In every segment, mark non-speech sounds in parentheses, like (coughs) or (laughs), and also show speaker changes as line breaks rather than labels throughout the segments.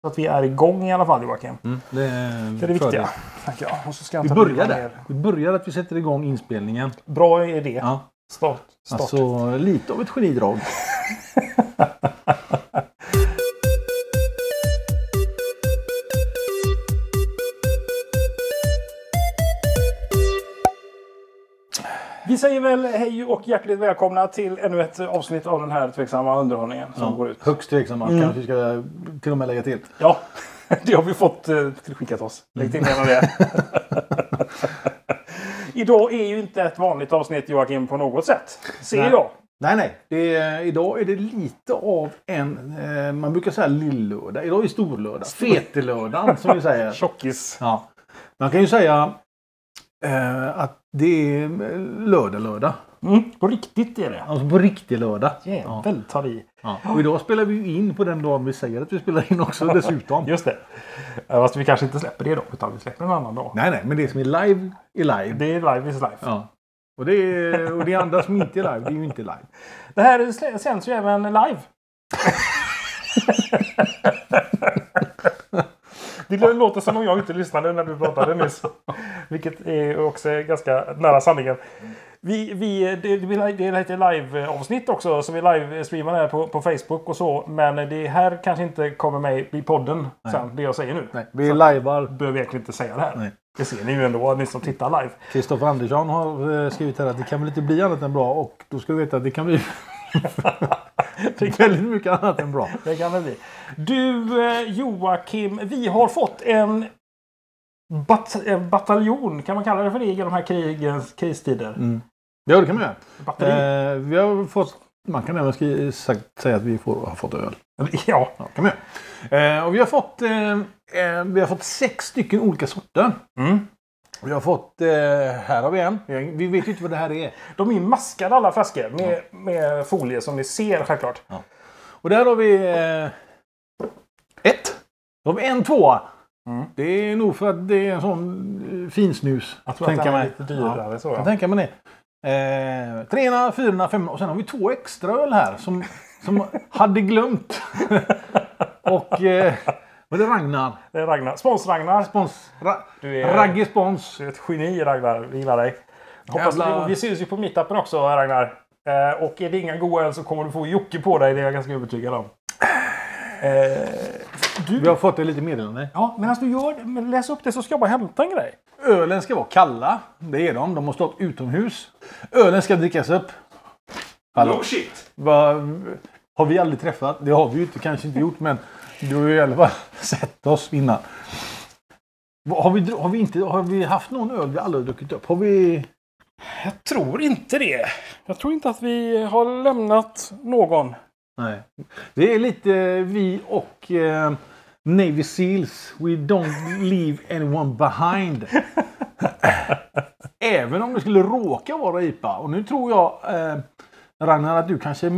Så att vi är igång i alla fall Joakim.
Mm, det är,
Det är det viktiga.
fördel.
Tänker jag. Och så ska jag
Vi
inte
börjar
riva
där.
ner.
Vi börjar att vi sätter igång inspelningen.
Bra idé.
Ja.
Start. start.
Alltså, lite av ett genidrag.
Vi säger väl hej och hjärtligt välkomna till ännu ett avsnitt av den här tveksamma underhållningen som
Ja,
går ut. Mm.
Högst tveksamma. Kanske vi ska till och med lägga till.
Ja, (laughs) det har vi fått eh, tillskickat oss. Lägg till gärna det. (laughs) Idag är ju inte ett vanligt avsnitt Joakim på något sätt. Ser
Nej.
jag.
Nej, nej. Det är, idag är det lite av en, eh, man brukar säga lillördag. Idag är storlördag. Fetelördagen som
(laughs)
vi säger.
Tjockis.
Ja. Man kan ju säga eh, att det är lördag, lördag.
Mm, på riktigt är det.
Alltså på riktig lördag. Ja.
Jävel tar i.
Ja. Och idag spelar vi ju in på den dagen vi säger att vi spelar in också dessutom.
Just det. Eh, Fast vi kanske inte släpper det då. Utan vi släpper en annan dag.
Nej, nej, men det som är live är live.
Det är live is life.
Ja. Och, det är, och det andra som inte är live, det är ju inte live.
Det här slä- sänds ju även live. Det lå- låter som om jag inte lyssnade när du pratade nyss. Vilket är också ganska nära sanningen. Vi, vi, det, det blir- det är lite live-avsnitt också som vi live-streamar här på, på Facebook och så. Men det här kanske inte kommer med i podden sen, det jag säger nu.
Nej, vi livear.
Behöver egentligen inte säga det här.
Nej.
Det ser ni ju ändå, ni som tittar live.
Kristoffer Andersson har eh, skrivit här att det kan väl inte bli annat än bra och då ska du veta att det kan (laughs) bli väldigt mycket annat än bra.
Det kan det bli. Du eh, Joakim, vi har fått en bat en bataljon, kan man kalla det för det i de här krigens kristider?
Ja, det kan man göra.
Batteri?
Mm. Eh, vi har fått, man kan även skri, sagt, säga att vi får, har fått öl.
Ja.
Ja, kan man göra. Eh, och vi har fått, eh, eh, vi har fått sex stycken olika sorter.
Mm.
Vi har fått, eh, här har vi en. Vi- Vi vet ju inte vad det här är.
De är ju maskade alla flaskor med, med folie som ni ser självklart.
Och där har vi eh, ett. Då har vi en tvåa.
Mm.
Det är nog för att det är en sån eh, finsnus.
Jag tror att den är
mig.
lite dyrare. Så,
Jag
ja.
tänker mig det. Eh, 300, 400, 500 och sen har vi två extra öl här som,
(laughs)
som hade glömt. och eh, var det Ragnar?
Det är Ragnar. Spons-Ragnar.
Spons, ra,
Du är-
Ragge Spons.
Du är ett geni Ragnar. Vi gillar dig. Hoppas
Jävla-
vi, och vi syns ju på meetupen också Ragnar. Eh, och är det inga goa öl så kommer du få Jocke på dig. Det är jag ganska övertygad om. Eh, du
Vi har fått ett litet meddelande.
Ja, medan du gör det, men läs upp det så ska jag bara hämta en grej.
Ölen ska vara kalla. Det är de. De har stått utomhus. Ölen ska drickas upp. Hallå. Oh,
shit!
Va, har vi aldrig träffat? Det har vi ju inte, kanske inte gjort, men du har ju i alla fall (laughs) sett oss innan. Va, Har vi, dr- har, vi inte, har vi haft någon öl vi aldrig har druckit upp? Har vi...
Jag tror inte det. Jag tror inte att vi har lämnat någon.
Nej. Det är lite eh, vi och eh, Navy Seals. We don't leave anyone behind. Även om det skulle råka vara IPA. Och nu tror jag, eh, Ragnar, att du kanske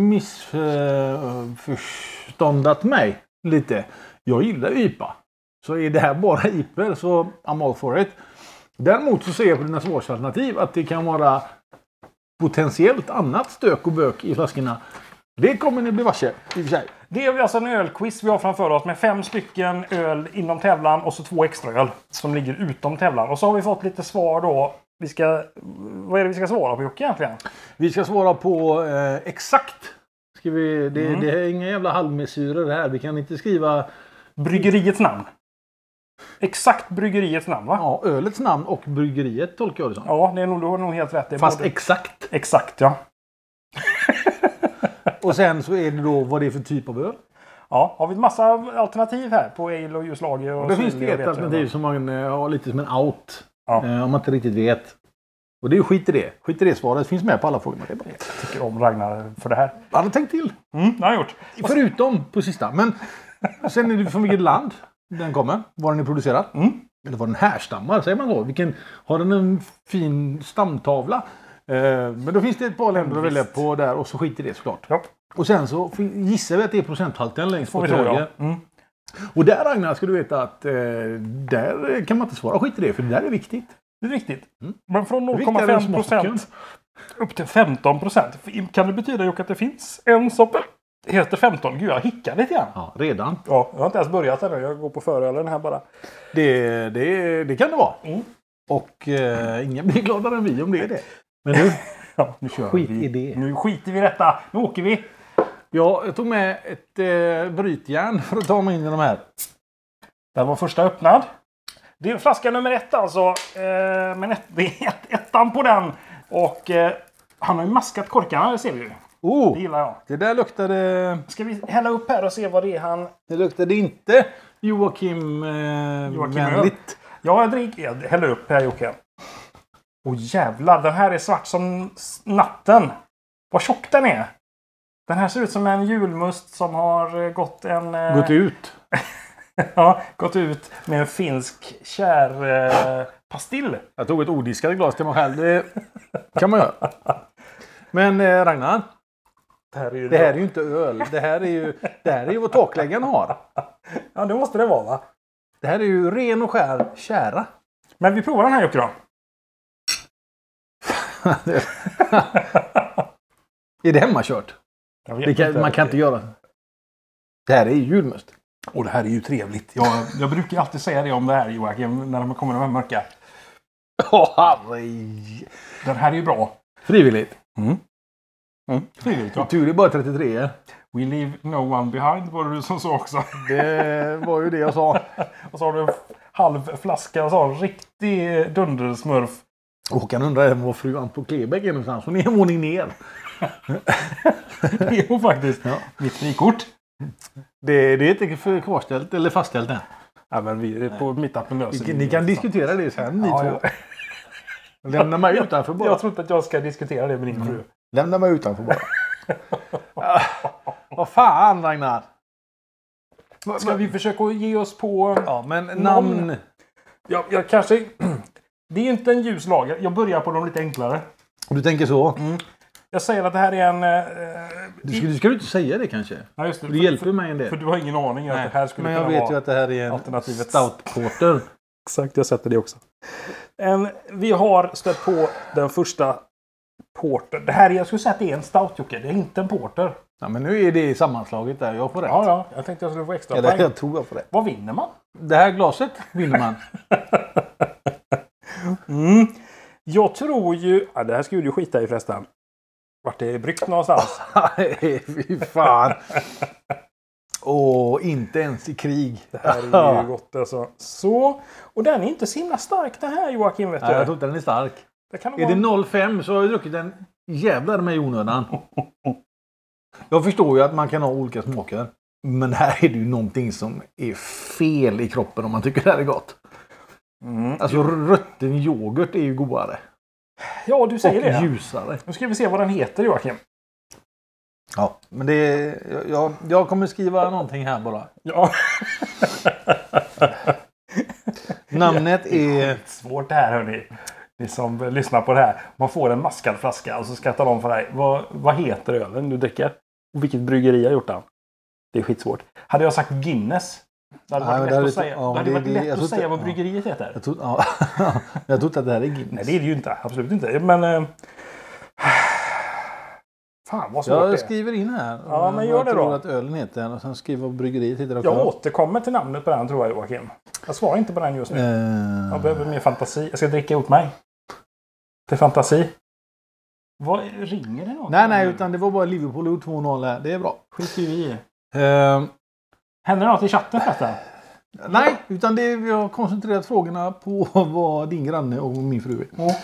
missförståndat mig lite. Jag gillar IPA. Så är det här bara IPA så I'm all for it. Däremot så ser jag på dina svarsalternativ att det kan vara potentiellt annat stök och bök i flaskorna. Det kommer ni bli varse i och för sig.
Det är alltså en ölquiz vi har framför oss med fem stycken öl inom tävlan och så två extra öl som ligger utom tävlan. Och så har vi fått lite svar då. Vi ska, vad är det vi ska svara på Jocke egentligen?
Vi ska svara på eh, exakt. Mm. Ska vi, det, det är inga jävla halvmesyrer här. Vi kan inte skriva
Bryggeriets namn. Exakt bryggeriets namn va?
ja, ölets namn och bryggeriet tolkar jag det som.
Ja, det är nog, du har nog helt rätt. Det är
Fast
både-
exakt.
exakt ja.
Och sen så är det då vad det är för typ av öl.
Ja, har vi en massa alternativ här på ale och ljuslager och
Och då finns
syrlig
det
och
ett
veteöl.
alternativ som man eh, har lite som en out.
Ja.
Eh, om man inte riktigt vet. Och det är ju skit i det. Skit i det svaret. Finns med på alla frågorna. Det är bara-
tycker om Ragnar för det här.
Han har tänkt till.
Mm, det har han gjort.
Förutom på sista. Men sen är det från vilket land den kommer. Var den är producerad.
Mm.
Eller var den härstammar, säger man så. Vilken, har den en fin stamtavla? Eh, men då finns det ett par länder att välja på där och så skit i det såklart.
Ja,
Och sen så fin- gissar vi att det är procenthalten längst
får
på
vi tro ja.
höger.
Mm.
Och där Ragnar ska du veta att eh, där kan man inte svara skit i det för det där är viktigt.
Det är viktigt.
Mm.
Men från
Viktigare än
0,5
smaken.
procent upp till 15 procent. Kan det betyda Jocke att det finns en som Heter 15? Gud, jag hickar lite grann.
Ja, redan.
Ja, jag har inte ens börjat ännu. Jag går på förölen här bara.
Det, det, det kan det vara.
Mm.
Och eh, ingen blir gladare än vi om det är det. Men nu,
Ja, nu kör
skit
vi.
i det.
Nu skiter vi i detta. Nu åker vi.
Ja, jag tog med ett eh, brytjärn för att ta mig in i de här.
Där var första öppnad. Det är flaska nummer ett alltså. Eh, men ett, (laughs) det är ett, ettan på den. Och eh, han har ju maskat korkarna, det ser vi ju. Det
Oh,
gillar jag.
det där luktade...
Ska vi hälla upp här och se vad det är han...
Det luktade inte Joakim eh,
Joakim
vänligt.
Ja, jag dricker. Jag häller upp här Jocke. Åh jävlar, den här är svart som s- natten. Vad tjock den är. Den här ser ut som en julmust som har eh, gått en... eh,
Gått ut.
Ja, gått ut med en finsk kär, eh, pastill.
Jag tog ett odiskat glas till mig själv. Det kan man göra. Men eh, Ragnar,
Det här är ju...
det här är ju inte öl. Det här är ju, det här är ju vad takläggaren har.
Ja, det måste det vara va?
Det här är ju ren och skär kära.
Men vi provar den här Jocke då.
är det hemmakört?
Jag vet
Det kan, man kan inte göra. Det här är ju julmust.
Och det här är ju trevligt. Jag, jag brukar alltid säga det om det här Joakim, när de kommer de här mörka.
Åh, herre-
Den här är ju bra.
Frivilligt.
Frivilligt ja.
Tur det är bara 33
We leave no one behind var det du som sa också.
Det var ju det jag sa.
Och så har du en f- halv flaska, så har du en riktig (laughs) dundersmurf.
Håkan undrar även var fru Anton Klebeck är någonstans. Hon är en våning ner.
Det är hon faktiskt.
Ja.
Mitt frikort.
Det, det är inte för- kvarställt eller fastställt än.
Ja, men vi är på meetupen löser
Ni,
vi
ni
det.
kan diskutera det sen ni
Ja,
två. Lämna mig utanför
Jag
bara.
tror inte att jag ska diskutera det med din fru.
Lämna mig utanför bara. Ah, (laughs) Vad fan Ragnar. Va-
Ska
va-
vi försöka att ge oss på...
Ja men namn.
Ja, jag kanske... (clears throat) Det är ju inte en ljus lager. Jag börjar på de lite enklare.
Du tänker så.
Jag säger att det här är en... eh,
Du ska, du ska ju inte säga det kanske.
Ja, just det.
Det hjälper ju mig en
För, för
del.
du har ingen aning att
Nej,
det här skulle
Men jag
kunna
vet ju
vara...
att det här är en
alternativet.
stout porter.
Exakt, jag sätter det också. En, vi har stött på den första porter. Det här är, jag skulle säga att det är en stout Jocke. Det är inte en porter.
Ja, men nu är det i sammanslaget där. Jag får rätt.
Ja, ja. Jag tänkte jag skulle få extra
Eller
poäng.
jag tror jag får rätt.
Vad vinner man?
Det här glaset vinner man.
Mm. Jag tror ju... Ja, det här skulle du ju skita i förresten. Vart det är bryggt någonstans.
(laughs) Nej, fy fan. Och inte ens i krig.
Det här är ju gott alltså. Så. Och den är inte så himla stark den här Joakim. Vet
Nej, jag
du.
tror inte den är stark.
Det kan nog
Är
vara...
det 05 så har jag druckit den jävlar mig i onödan. Jag förstår ju att man kan ha olika smaker. Men här är det ju någonting som är fel i kroppen om man tycker det här är gott.
Mm.
Alltså rutten yoghurt är ju godare.
Ja, du säger det.
Och ljusare.
Nu ska vi se vad den heter Joakim.
Ja, men det är, jag, jag kommer skriva någonting här bara.
Ja.
Namnet är...
Svårt det här hörni. Ni som lyssnar på det här. Man får en maskad flaska och så ska jag tala om för dig. Vad, vad heter ölen du dricker? Och vilket bryggeri har gjort den? Det är skitsvårt. Hade jag sagt Guinness. Det hade
Nej,
varit
men det
lätt
hade
att säga, det
inte- ja,
hade
det-
varit
det-
lätt
jag
att
tror inte-
säga vad
ja.
bryggeriet heter.
Jag trodde, ja, (laughs) jag trodde att det här är Guinness.
Nej, det är det ju inte. Absolut inte. Men... Eh, fan vad svårt det är.
Jag skriver in här.
Ja, men gör
jag
det
tror
då.
att ölen heter och sen skriver jag bryggeriet heter det också.
Jag återkommer till namnet på den tror jag Joakim. Jag svarar inte på den just nu.
Eh,
Jag behöver mer fantasi. Jag ska dricka upp mig. Till fantasi. Vad ringer det något?
Nej, nej, utan det var bara Liverpool gjorde 2-0 här. Det är bra.
Skit i.
Eh,
Händer det något i chatten förresten?
nej, utan det, vi har koncentrerat frågorna på (laughs) vad din granne och min fru är.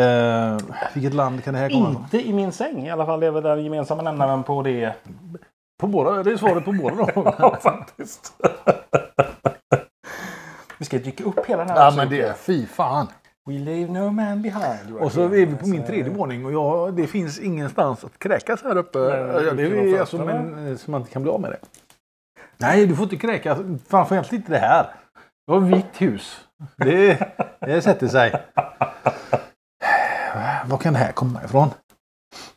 Eh, vilket land kan det här komma ifrån?
Inte i min säng i alla fall. Det är väl den gemensamma nämnaren på det.
På båda, det är svaret på båda då.
(laughs)
(laughs)
faktiskt. Vi ska dyka upp hela den här.
ja,
också,
men det är
Jocke.
fy fan.
We leave no man behind. Joakim.
Och så är vi på min
Alltså,
tredje våning och jag, det finns ingenstans att kräkas här uppe.
Nej,
ja, det
utan de
är alltså,
fötterna.
men, eh, så man inte kan bli av med det. Nej, du får inte kräkas. Framförallt inte det här. Jag har vitt hus. Det, det sätter sig. Var kan det här komma ifrån?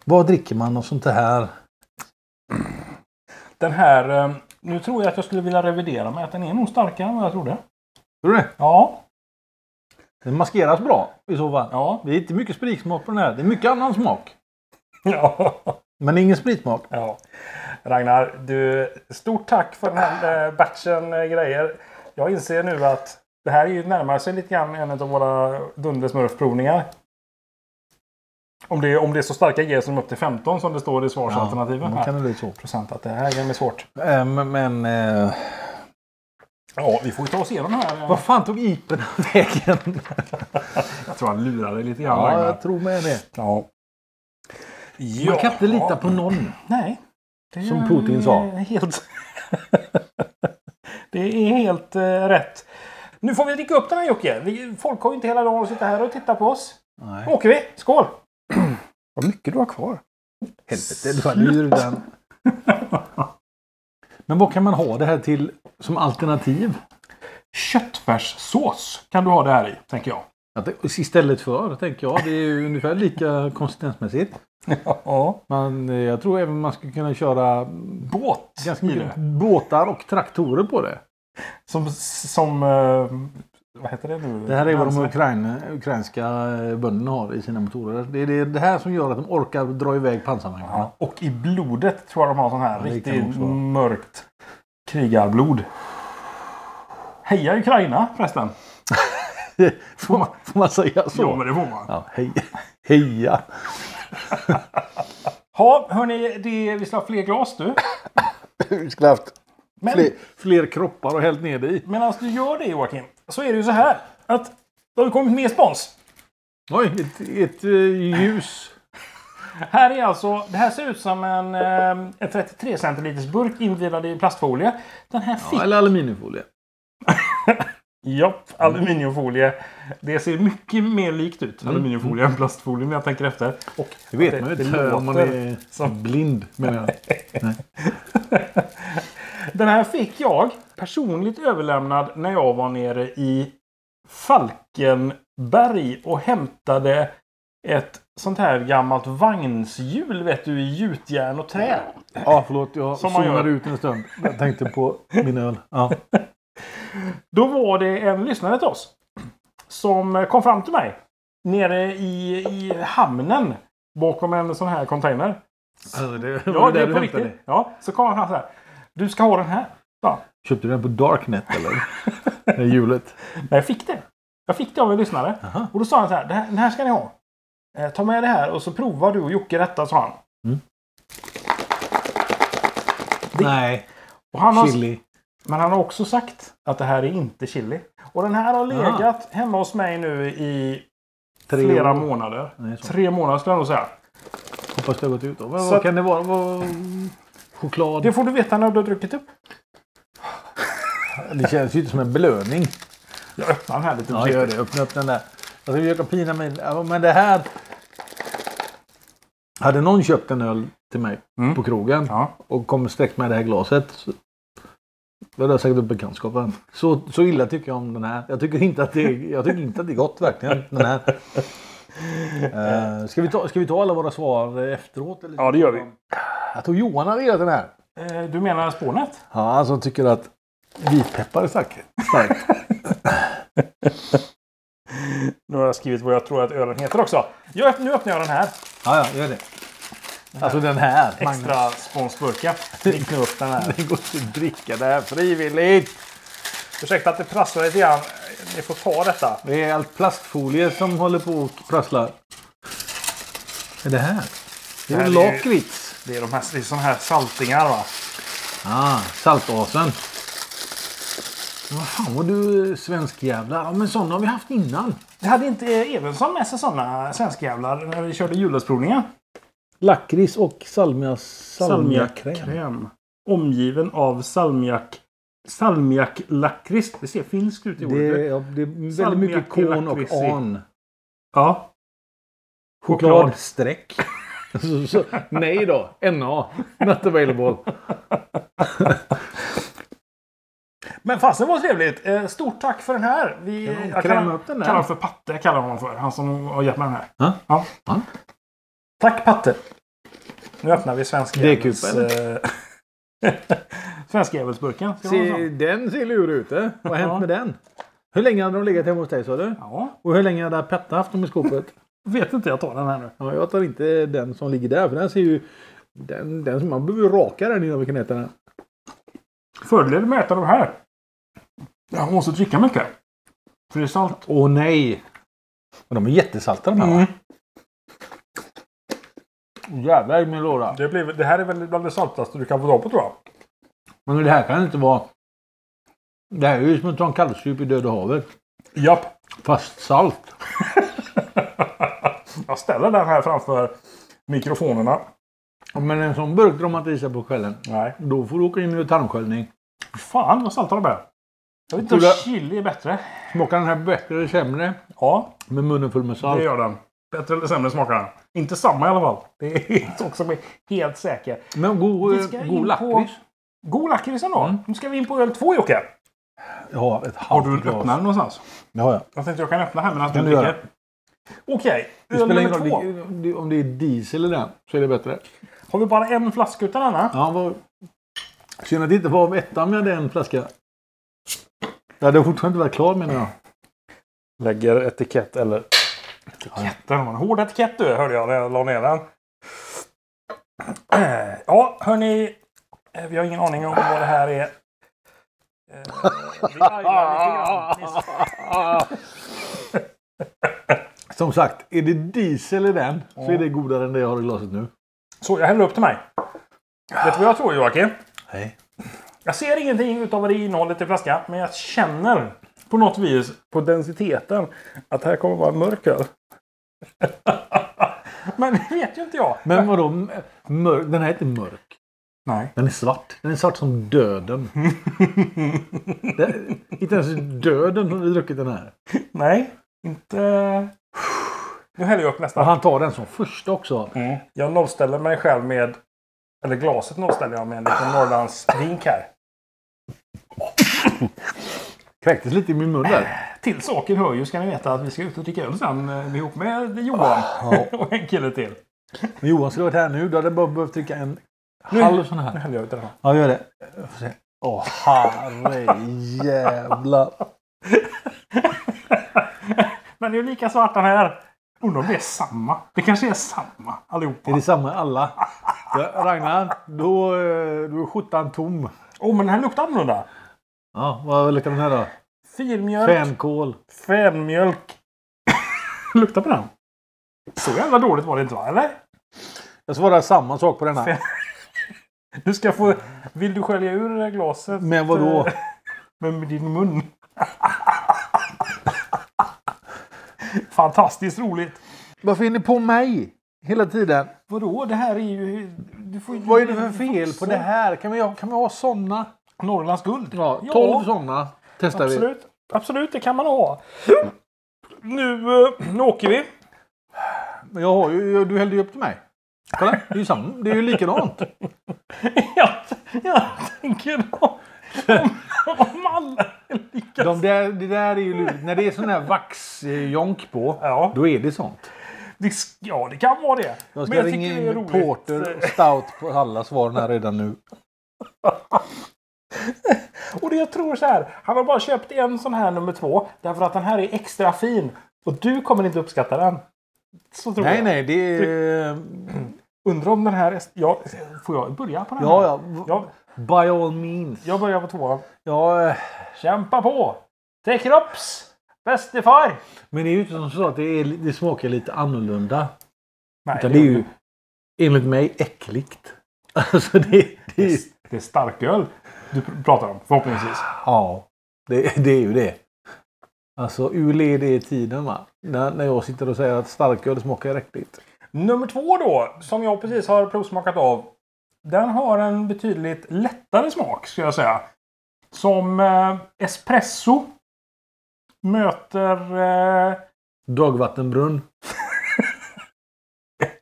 Vad dricker man och sånt här?
Den här... eh, Nu tror jag att jag skulle vilja revidera mig. Att den är nog starkare än vad jag trodde.
Tror du det?
Ja.
Den maskeras bra i så fall.
Ja.
Det är inte mycket spritsmak på den här. Det är mycket annan smak.
(laughs) Ja.
Men ingen spritsmak.
Ja. Ragnar, du, stort tack för den här eh, batchen eh, grejer. Jag inser nu att det här är ju närmare sig lite grann en av våra dundersmurfprovningar. Om det, om det är så starka G som upp till 15 som det står i svarsalternativen.
Ja,
här.
då kan det bli så.
Procent att det här är svårt.
Eh, Men, men eh,
Ja, vi får ju ta oss igenom här.
vad fan tog ipen vägen?
Jag tror han lurade lite grann.
Ja,
Ragnar.
jag tror med det.
Ja.
Man kan inte lita på någon.
Nej. Det
Som
är
Putin sa.
Helt... (laughs) det är helt eh, rätt. Nu får vi dricka upp den här Jocke. Vi, folk har ju inte hela dagen att sitta här och titta på oss.
Nej.
Då åker vi. Skål!
(clears throat) Vad mycket du har kvar. Helvete, du hade ju den. (laughs) Men vad kan man ha det här till som alternativ?
Köttfärssås kan du ha det här i, tänker
(laughs)
jag.
Att det- Istället för, tänker jag. Det är ju ungefär lika konsistensmässigt.
Ja.
Men eh, jag tror även man skulle kunna köra mm,
Båt
ganska
i
mycket
det.
båtar och traktorer på det.
Som... som eh, vad heter det nu?
Det här är vad de
Bränsle.
ukrain, ukrainska eh, bönderna har i sina motorer. Det är det, det här som gör att de orkar dra iväg pansarvagnarna.
Ja, och i blodet tror jag de har sån här
Ja, det kan de
riktigt
också ha.
mörkt krigarblod. Heja Ukraina förresten!
(laughs) får, man, får man säga så?
Ja, men det får man.
Ja, hej, heja!
Ja, hörni, det, vi ska ha fler glas du.
Vi skulle haft
Men
fler, fler kroppar och hällt ner det i.
medan du gör det Joakim, så är det ju så här att det har kommit mer spons.
Oj, ett, ett eh, ljus.
Här är alltså, det här ser ut som en, eh, en 33 centiliters burk invirad i plastfolie. Den här fick...
Ja, eller aluminiumfolie.
Japp, aluminiumfolie. Det ser mycket mer likt ut, aluminiumfolie, än plastfolie när jag tänker efter. Och
Det vet
att
man ju
det
inte om man
låter
är
som-
blind. Menar
(laughs)
jag.
Den här fick jag personligt överlämnad när jag var nere i Falkenberg och hämtade ett sånt här gammalt vagnshjul vet du, i gjutjärn och trä.
Ja, förlåt. Jag
Som man gör.
zonade ut en stund. Jag tänkte på min öl. Ja.
Då var det en lyssnare till oss som kom fram till mig nere i, i hamnen bakom en sån här container.
Alltså, det,
Ja, det är på riktigt. Ja, så kom han fram så här. Du ska ha den här. Ja,
Köpte du den på Darknet eller?
(laughs)
Det är hjulet.
Men jag fick det. Jag fick det av en lyssnare.
Aha.
Och då sa han så här, "Det här- den här ska ni ha. Eh, ta med det här och så provar du och Jocke detta, sa han.
Nej,
Och han har,
chili.
men han har också sagt att det här är inte chili. Och den här har legat hemma hos mig nu i
Tre
flera
år.
månader.
Nej, så.
Tre månader skulle jag nog säga.
Hoppas det har gått ut. Då. Vad,
Så-
vad kan det vara? Vad, choklad?
Det
Det,
får du veta när du har druckit upp.
känns ju inte som en belöning.
Jag öppnar den här lite
Ja, gör
försiktigt.
det. Öppna upp den där. Jag ska försöka pina mig. Ja, Men det här... Hade någon köpt en öl till mig
Mm.
på krogen
Ja.
och kom och sträckt mig det här glaset. Så... Då hade jag sagt upp bekantskapen. Så, så illa tycker jag om den här. Jag tycker inte att det är, jag tycker inte att det är gott verkligen. Den här. Uh, ska, vi ta, ska vi ta alla våra svar eh, efteråt? Eller?
Ja, det gör vi.
Jag tror Johan hade gillat den här.
Eh, Du menar spånet?
Ja, han som tycker att vitpeppar är starkt. starkt.
Nu har jag skrivit vad jag tror att ölen heter också. Jag, öpp- nu öppnar jag den här.
Ja, ja, gör det. Alltså den här. Magnus.
Extra sponsburken. Drick nu upp den (laughs) här.
(laughs) Det går inte att dricka det här frivilligt.
Ursäkta att det prasslar lite grann. Ni får ta detta.
Det är allt plastfolie som håller på och prasslar. Vad är det här? Det
Det
är
här
ju
är ju-
lakrits.
Det är de här, det är såna här saltingar va.
Ah, saltasen. Men Vad fan var du eh, svensk jävlar. Ja, men sådana har vi haft innan.
Det hade inte eh, Evensson med sig sådana svenskjävlar när vi körde julhöstsprovningen?
Lakrits och salmias,
Omgiven av salmiak. Salmiaklakrits. Det ser finskt ut i ordet.
ja, det är
Salmiak i lakrits i. Ja.
streck. (laughs) så, så, nej då. NA. Not available.
Men fasen var trevligt. Eh, Stort tack för den här. Vi,
Ja,
jag
kräm
kallar,
upp den där.
kallar honom för Patte. Jag kallar honom för. Han som har hjälpt mig med den här.
Ja.
Ja.
Ja.
Tack Patte. Nu öppnar vi svensk
Det är kul,
Jävels, eh, (laughs) Svenskjävelsburken. Ska vi ha en
Se,
sån?
den ser lurig ut. eh. Vad har
Ja.
hänt med den? Hur länge hade de legat hemma hos dig sa du?
Ja.
Och hur länge hade (laughs) Petta haft dem i skåpet?
Vet inte, jag tar den här nu.
ja, jag tar inte den som ligger där för den ser ju Den, den, man behöver ju raka den innan vi kan äta den.
Fördelen med att äta de här. Ja, man måste dricka mycket. För det är salt.
Åh nej! Men de är jättesalta de här
Mm.
va? Mm. Jävlar i min låda.
Det, blir, det här är väl bland det saltaste du kan få tag på tror jag.
Men det här kan inte vara... Det här är ju som att ta en kalvsdjup i Döda havet.
Japp.
Fast salt.
(laughs) Jag ställer den här framför mikrofonerna.
Men en sån burk drar man inte i sig på kvällen.
Nej.
Då får du åka in i tarmsköljning.
Fan vad salta de är. Jag vet inte om
Tror
chili är bättre.
Smakar den här bättre eller sämre?
Ja,
Med munnen full med
det
salt.
gör den. Bättre eller sämre smakar den. Inte samma i alla fall. Det är (laughs) en sak som är helt säker.
Men god,
Vi ska
eh,
in på-
god lakrits.
God lakritsen då.
Mm.
Nu ska vi in på öl två Jocke.
Jag har ett
Har
halvt
du en
glas.
öppnare någonstans?
Det har jag.
Jag tänkte jag kan öppna här medan
Kan
du
du göra.
dricker. Okej,
Det
öl
spelar ingen
nummer
roll
två.
det- det- om det är diesel i den så är det bättre.
Har vi bara en flaska utan denna?
Ja, vad... Synd att det inte var av ettan med en flaska. Det hade fortfarande inte varit klar menar jag.
Lägger etikett eller... Etiketten var en hård etikett du, hörde jag när jag la ner den. Eh, Ja, hörni. eh, Vi har ingen aning om vad det här är. Eh, Vi lajvar lite grann.
(laughs) Som sagt, är det diesel i den så är det godare än det jag har i glaset nu.
Så, jag häller upp till mig. Vet du vad jag tror Joakim?
Nej.
Jag ser ingenting utav vad det är innehållet i flaskan, men jag känner på något vis på densiteten att det här kommer vara en mörk öl. (laughs) men det vet ju inte jag.
Men vadå? Mörk? Den här är inte mörk.
Nej.
Den är svart. Den är svart som (laughs) döden. det, inte ens döden har druckit den här.
Nej, inte... Nu häller jag upp
Och
nästa.
han tar den som första också.
Mm. Jag nollställer mig själv med... Eller glaset nollställer jag med en liten Norrlandsvink här.
Kräktes lite i min mun där.
Till saken hör ju, ska ni veta, att vi ska ut och dricka öl sen eh, ihop med Johan (laughs) och en kille till.
Men Johan skulle varit här nu. Då hade jag bara behövt dricka en
Nu-
halv sån här.
Nu häller jag ut den här.
Ja, gör det. Jag får se. Åh, herrejävlar.
Den är ju lika svart den här. Undrar om det är samma. Det kanske är samma allihopa.
Är det samma i alla? Ja, Ragnar, då, eh, då är skjortan tom.
Åh, men den här luktar annorlunda.
Ja, vad luktar den här då?
Filmjölk.
Fänkål.
Fänmjölk. (laughs) luktar på den. Så jävla dåligt var det inte va? Eller?
Jag svarar samma sak på den här.
Fän- Du ska få... Vill du skölja ur det där glaset?
Men vadå?
eh, (laughs) Med din mun. (laughs) Fantastiskt roligt.
Varför är ni på mig? Hela tiden.
Vadå? Det här är ju... Du får ju
Vad är det för fel på det här? Kan vi ha, kan vi ha såna?
Norrlands guld.
Ja,
Ja.
12 såna testar vi.
Absolut. Absolut, det kan man ha. Nu, eh, nu åker vi. (laughs)
Men Jag har ju, jag- du hällde ju upp till mig. Kolla, det är ju samma. Det är ju likadant.
Jag, jag tänker om, om, om alla är lika.
De där, det där är ju lurigt. När det är sån här vaxjonk på,
Ja.
då är det sånt.
Det, sk- ja, det kan vara det.
Jag
Men
ska
tycker
ringa
det är
in
roligt.
porter och stout på alla svaren här redan nu.
Och det jag tror så här. Han har bara köpt en sån här nummer två. Därför att den här är extra fin. Och du kommer inte uppskatta den. Så tror
Nej,
jag.
nej, det är...
Undrar om den här... är- Ja, får jag börja på den här?
Ja, ja. v-
Jag,
By all means.
jag börjar på tvåan.
Ja, eh,
Kämpa på! Till kropps! Bäste far!
men det är ju inte som så att det, är, det smakar lite annorlunda.
Nej,
Utan det är ju enligt mig äckligt. (laughs) Alltså det, det, är, ju-
det är starköl du pr- pratar om, förhoppningsvis.
ja, det, det är ju det. Alltså ur led är tiden va. När, när jag sitter och säger att starköl smakar äckligt.
Nummer två då, som jag precis har provsmakat av. Den har en betydligt lättare smak, skulle jag säga. Som eh, espresso möter... Eh,
Dagvattenbrunn.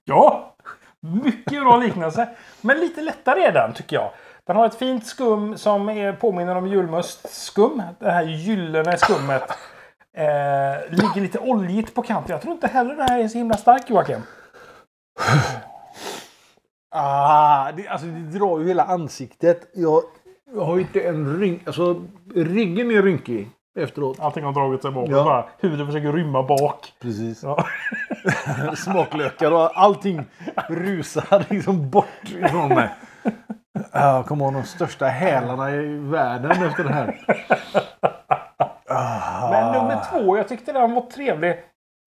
ja! (laughs) Mycket bra liknelse. Men lite lättare är den, tycker jag. Den har ett fint skum som är, påminner om julmustskum. Det här gyllene skummet. Eh, ligger lite oljigt på kanten. Jag tror inte heller den här är så himla stark, Joakim.
Ah, det, alltså det drar ju hela ansiktet. Jag, jag har ju inte en rynk. Alltså ryggen är rynkig. efteråt.
Allting har dragit sig bakåt.
Ja.
Bara, huden försöker rymma bak.
Precis.
Ja.
(laughs) Smaklökar och allting rusar liksom bort ifrån mig. Jag kommer ihåg de största hälarna i världen efter det (laughs) här. Ah.
Men nummer två, jag tyckte den var trevlig.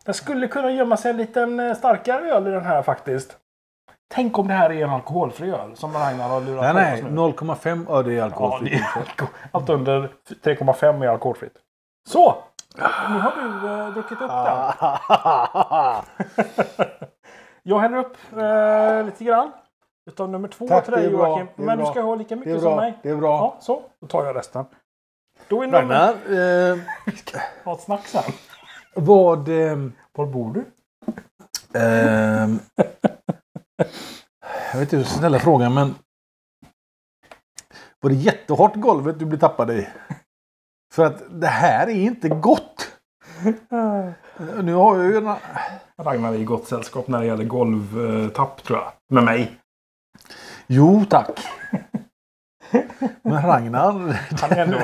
Den skulle kunna gömma sig en liten eh, starkare öl i den här faktiskt. Tänk om det här är en alkoholfri öl som Ragnar har lurat
Nej,
på
nej.
oss nu.
0,5 öre i
ja, det
alkoholfritt.
är alko- Allt under 3,5 är alkoholfritt. Så! Nu har du eh, druckit upp den.
Ah.
Jag häller upp eh, lite grann. Utav nummer två
Tack,
till
det
dig
är bra,
Joakim.
det är
Men du
bra.
ska ha lika
Det är
mycket som
bra.
mig.
Det är bra.
Ja, så. Då tar jag resten. Då är nummer...
Ragnar, eh,
Ha ett snack sen.
vad... ehm,
Var bor du?
Ehm. jag vet inte hur jag ska ställa frågan men. Var det jättehårt golvet du blev tappad i? För att det här är inte gott. Nu har jag ju en...
Ragnar är i gott sällskap när det gäller golvtapp tror jag. Med mig.
Jo tack. Men Ragnar.
Han är ändå...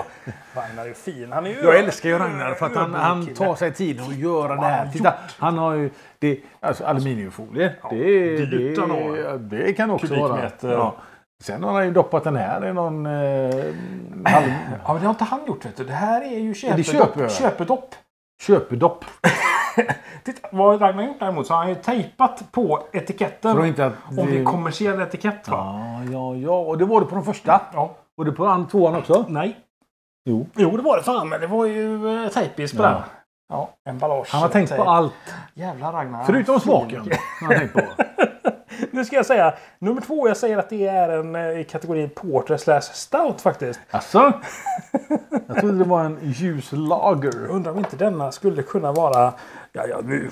Ragnar är fin. Han är ju...
Jag älskar ju Ragnar för att han, han
Ödmjuk
tar
kille.
sig tid att göra det här.
han
Titta, han har ju det, alltså aluminiumfolie. det,
dyrt
det,
han har.
ja, det kan också vara.
Kubikmeter.
Ja. Sen har han ju doppat den här i någon... Eh, halv,
Ja, men det har inte han gjort vet du. Det här är ju
det
köpedopp.
köper jag.
köpedopp.
köpedopp.
Titta, vad Ragnar gjort däremot så har han ju tejpat på etiketten.
Tror du inte att
Om det
det-
är kommersiell etikett va?
Ja, ja, ja. Och det var det på den första.
Ja.
Och det på den tvåan också.
Nej.
Jo.
Jo, det var det fan. Men det var ju eh, tejpis på
Ja.
den. Ja, emballage.
Han har tänkt på
tejp.
allt.
Jävla Ragnar. Fin.
Förutom smaken. Han har tänkt på.
Nu ska jag säga, nummer två, jag säger att det är en eh, i kategorin porter slash stout faktiskt.
Alltså? Jag trodde det var en ljus lager.
Undrar om inte denna skulle kunna vara... Ja, ja, nu.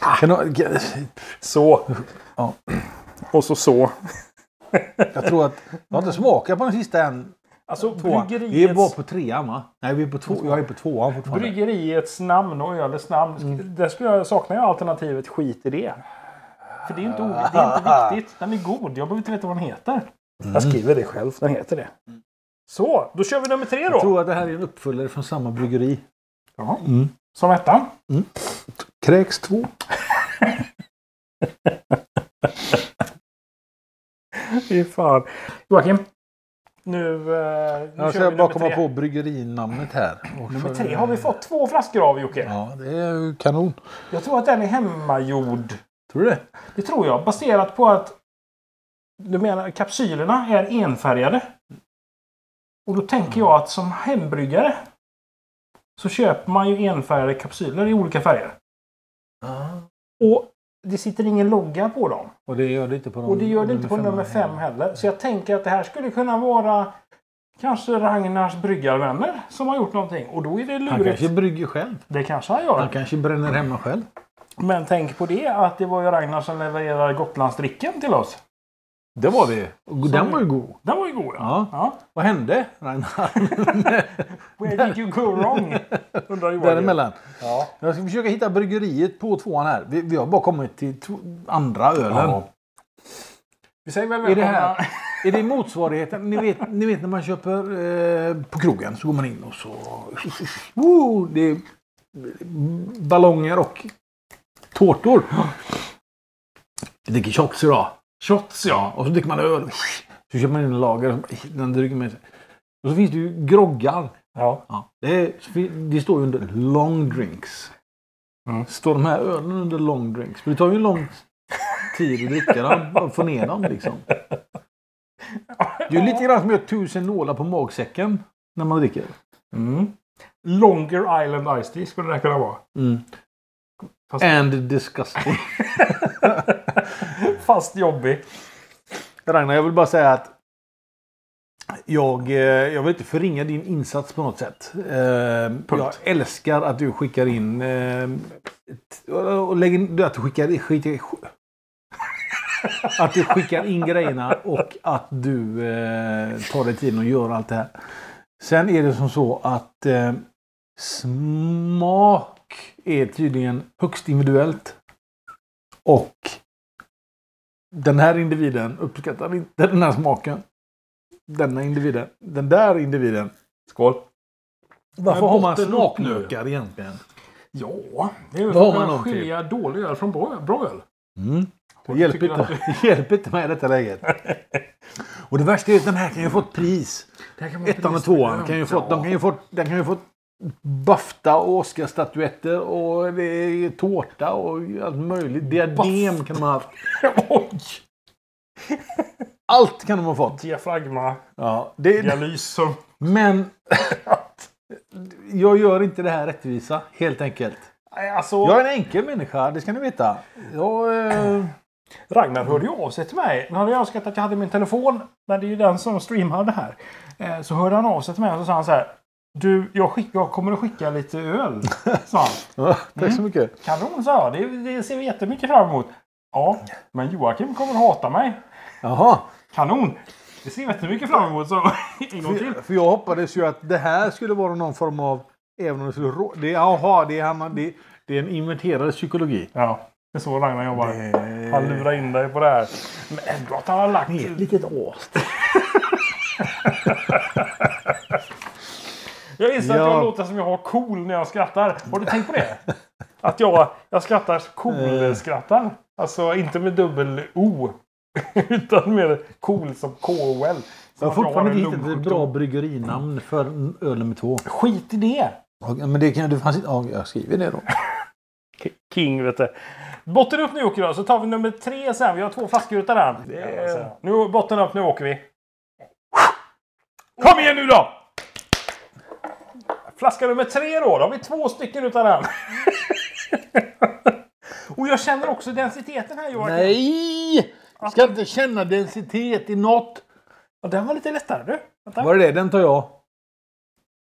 Ah.
Kan du, kan-
Så.
Ja.
Och så så.
jag tror att... Jag har inte smakat på den sista än.
Alltså
Tvåan. Vi är bara
bryggeriets,
på trean va? Nej, vi är på två. Jag är på tvåan fortfarande.
bryggeriets namn och ölets namn. Där skulle jag, saknar jag alternativet skit i det. För det är inte, o- det är (laughs) inte viktigt. Den är god. Jag behöver inte veta vad den heter. Jag skriver det själv. Den heter det. Så, då kör vi nummer tre
Jag
då.
tror att det här är en uppföljare från samma bryggeri.
Ja. Som ettan.
Kräks 2.
Fy fan. Joakim. Nu, eh, nu
Jag
kör
ska
vi
bara
nummer
komma
tre.
på bryggerinamnet här. Och
Nummer
för-
tre har vi fått två flaskor av Jocke.
Ja, det är ju kanon.
Jag tror att den är hemmagjord.
Tror du det?
Det tror jag. Baserat på att du menar kapsylerna är enfärgade. Och då tänker jag att som hembryggare så köper man ju enfärgade kapsyler i olika färger. Och det sitter ingen logga på dem.
Och det gör det inte på de,
Och det gör det inte på nummer fem heller. Så jag tänker att det här skulle kunna vara kanske Ragnars bryggarvänner som har gjort någonting. Och då är det
Han
lurigt.
kanske brygger själv.
Det kanske han gör.
Han kanske bränner hemma själv.
Men tänk på det att det var ju Ragnar som levererade Gotlandsdricken till oss.
Det var det Och Den
Så-
var ju god.
Den var ju god ja.
Ja.
ja.
Vad hände Ragnar?
(laughs) Where did you go
(laughs)
wrong? Undrar Joakim.
Däremellan.
Ja.
Jag ska försöka hitta bryggeriet på tvåan här. Vi, vi har bara kommit till to- andra ölen.
Ja. Vi säger väl
Är det
välkomna.
här- Är det motsvarigheten? Ni vet, ni vet när man köper eh, på krogen så går man in och så... Woo, det är ballonger och tårtor. Jag dricker shots idag.
Shots ja.
Ja, och så dricker man öl. Så köper man in en lager. och Den dricker man. Och så finns det ju groggar.
ja.
Ja, det, är, så fin- det står ju under long drinks.
Mm.
Står de här ölen under long drinks? För det tar ju lång tid att
(laughs)
dricka dem och få ner dem liksom. Det är ju lite grann som att göra tusen nålar på magsäcken när man dricker.
Mm. Longer Island Ice Tea skulle det här kunna vara. Fast-
Mm. And disgusting.
Fast jobbig.
Ragnar, jag vill bara säga att jag, eh, jag vill inte förringa din insats på något sätt. Eh, Jag älskar att du skickar in... eh, t- Och lägger, in- att du skickar, in- skickar, (laughs) att du skickar in grejerna och att du eh, tar dig tiden att göra allt det här. Sen är det som så att eh, smak är tydligen högst individuellt. Och den här individen uppskattar inte den här smaken. Denna individen. Den där individen.
Skål.
Varför
Men
har man
bottenlopp nu?
smaklökar egentligen?
Ja, det är väl
Vad har
för att
man dem till?
skilja dålig öl från bra, bra öl.
Mm. Det
Jag
hjälper
tycker
inte, (laughs) hjälper inte mig i detta läget. Och det värsta är att den här kan ju ha fått pris.
Det här kan man inte
Ettan och
lista.
tvåan kan ju ha fått,
Ja.
de kan ju ha fått, den kan ju ha fått Bafta och Oscarsstatyetter och det är tårta och allt möjligt. Diadem kan de ha haft.
(laughs) Oj!
Allt kan de ha fått.
Diafragma,
Ja, det,
dialys.
men (laughs) jag gör inte det här rättvisa helt enkelt.
Nej, Alltså,
Jag är en enkel människa, det ska ni veta. Jag, eh,
Ragnar hörde ju av sig till mig. Han hade ju önskat att jag hade min telefon. Men det är ju den som streamar det här. Eh, Så hörde han av sig till mig och så sa han så här. Du, jag, skick, jag kommer att skicka lite
(laughs)
öl. Sa han.
ja, tack så mycket.
Kanon, sa jag. Det, det ser vi jättemycket fram emot. Ja, men Joakim kommer att hata mig.
Jaha.
Kanon! Det ser vi jättemycket fram emot. Så. (laughs) En gång till.
För, för jag hoppades ju att det här skulle vara någon form av... Även om det skulle rå, det, aha, det, är han- det, det är en inventerad psykologi. Eh,
Ja, det är så Ragnar jobbar.
Det-
Han lurar in dig på det här. Men ändå att han har lagt...
Ni är ett litet as.
Jag inser att
Ja.
jag låter som jag har cool när jag skrattar. Har du tänkt på
(laughs)
det? Att jag, jag skrattar cool-skrattar. Alltså inte med dubbel-O. (laughs) Utan med cool som K-O-L. Som
Jag har
att har
fortfarande
en
inte hittat ett bra
lungsjukdom.
bryggerinamn för öl nummer två.
Skit i det!
Ja, Men det kan det fanns inte... Ja, jag skriver det då.
King vet du. Botten upp nu åker då, så tar vi nummer tre sen. Vi har två flaskrutor där. Eh, Nu, botten upp, nu åker vi. Kom igen nu då! Flaska nummer tre då, då har vi två stycken utav den. (laughs) Och jag känner också densiteten här Joakim.
Nej! Jag ska inte känna densitet i något.
Och den var lite lättare du. Vänta.
Var det det? Den tar jag.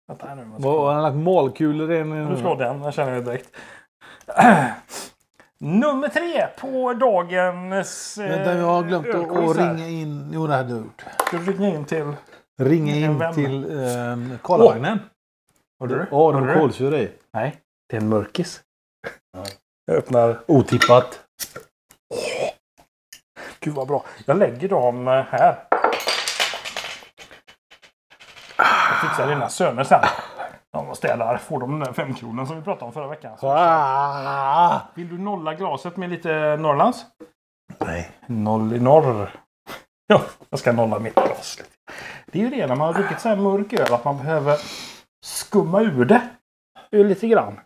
Vänta här nu. vad ska-
Vad- Har han lagt målkulor i en...
Nu slår den, den känner jag direkt. (clears throat) Nummer tre på dagens... eh,
Vänta, jag har glömt att,
ölquiz
att
här.
ringa in... Jo, det hade jag gjort.
Ska du ringa in till...
Ringa
En
in
vän.
till ehm, Karlavagnen.
Hörde du?
Ja,
Hörde
det
du?
var kolsyra i.
Nej, det är en mörkis. Jag öppnar.
Otippat.
Gud vad bra. Jag lägger dem eh, här. Jag fixar dina söner sen. De städar. Får de den där femkronan som vi pratade om förra veckan. Så-
Ah!
Vill du nolla glaset med lite Norrlands?
Nej.
Noll i norr. Ja, jag ska nolla mitt glas lite. Det är ju det när man har druckit så här mörk öl att man behöver skumma ur det. Ur lite grann.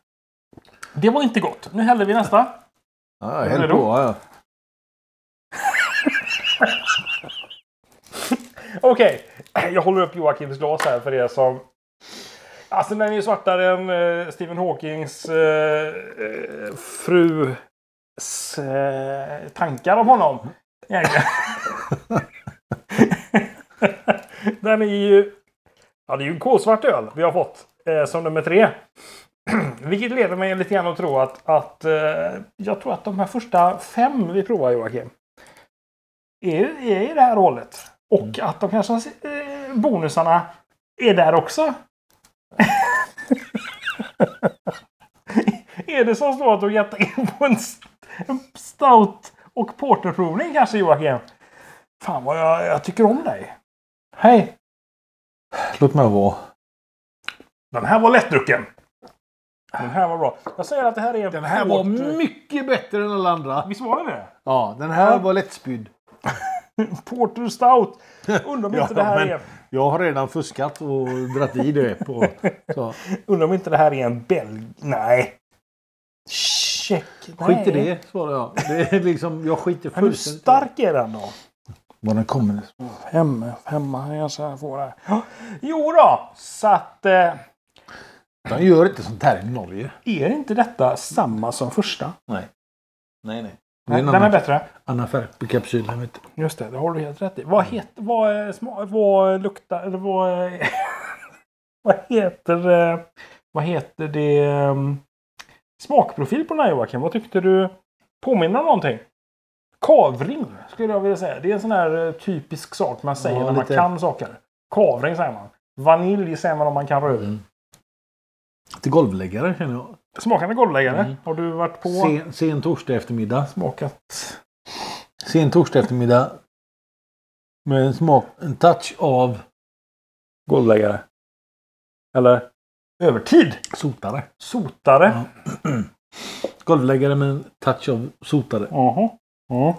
Det var inte gott. Nu häller vi nästa.
Ja,
Är du
häll på.
redo?
Ja.
Okej, jag håller upp Joakims glas här för er som... Alltså den är ju svartare än eh, Stephen Hawkings eh, eh, frus eh, tankar om honom. Egentligen. (laughs) den är ju... Ja, det är ju en kolsvart öl vi har fått eh, som nummer tre. (clears throat) Vilket leder mig lite grann att tro att, att eh, jag tror att de här första fem vi provar Joakim är, är i det här hålet. Och
Mm.
att de kanske eh, bonusarna är där också. (laughs) är det som så att du har gett in på en, st- en stout och porterprovning kanske Joakim? Fan vad jag, jag tycker om dig. Hej!
Låt mig vara.
Den här var lättdrucken. Den här var bra. Jag säger att det här är en
Den här var
port-
mycket bättre än alla andra.
Visst var det det?
Ja, den här
Ja.
var lättspydd.
Porter stout. Undrar om inte
(laughs) Ja,
det här
men-
är...
Jag har redan fuskat och dratt i det. På, så.
Undrar om inte det här är en belg... Nej. Check.
Skit i det, svarade jag. Det är liksom, jag skiter
Men hur
fullständigt
stark är den då?
Var den kommer.
Fem, femma kanske får det. Jo då, så att... Eh,
De gör inte sånt här i Norge.
är inte detta samma som första?
Nej. Nej, nej. Det är
Nej,
en
den är
annan,
bättre.
annan färg på kapsylen. Vet du.
Just det, det har du helt rätt i.
Mm.
Vad heter... Vad, eh, sma- vad luktar... Eller vad... (laughs) eh, vad heter... eh, Vad heter det... eh, Smakprofil på den här Joakim? Vad tyckte du påminner om någonting? Kavring skulle jag vilja säga. Det är en sån här eh, typisk sak man säger
Ja,
när man
lite.
kan saker. Kavring säger man. Vanilj säger man om man kan rödvin.
Mm. Till golvläggare känner jag.
Smakande golvläggare.
Mm.
Har du varit på?
Sen, sen torsdag eftermiddag.
Smakat.
Sen torsdag eftermiddag. Med en smak, en touch av
Golvläggare. Eller? Övertid.
Sotare.
Sotare.
Ja. Golvläggare med en touch av sotare.
Jaha. Ja.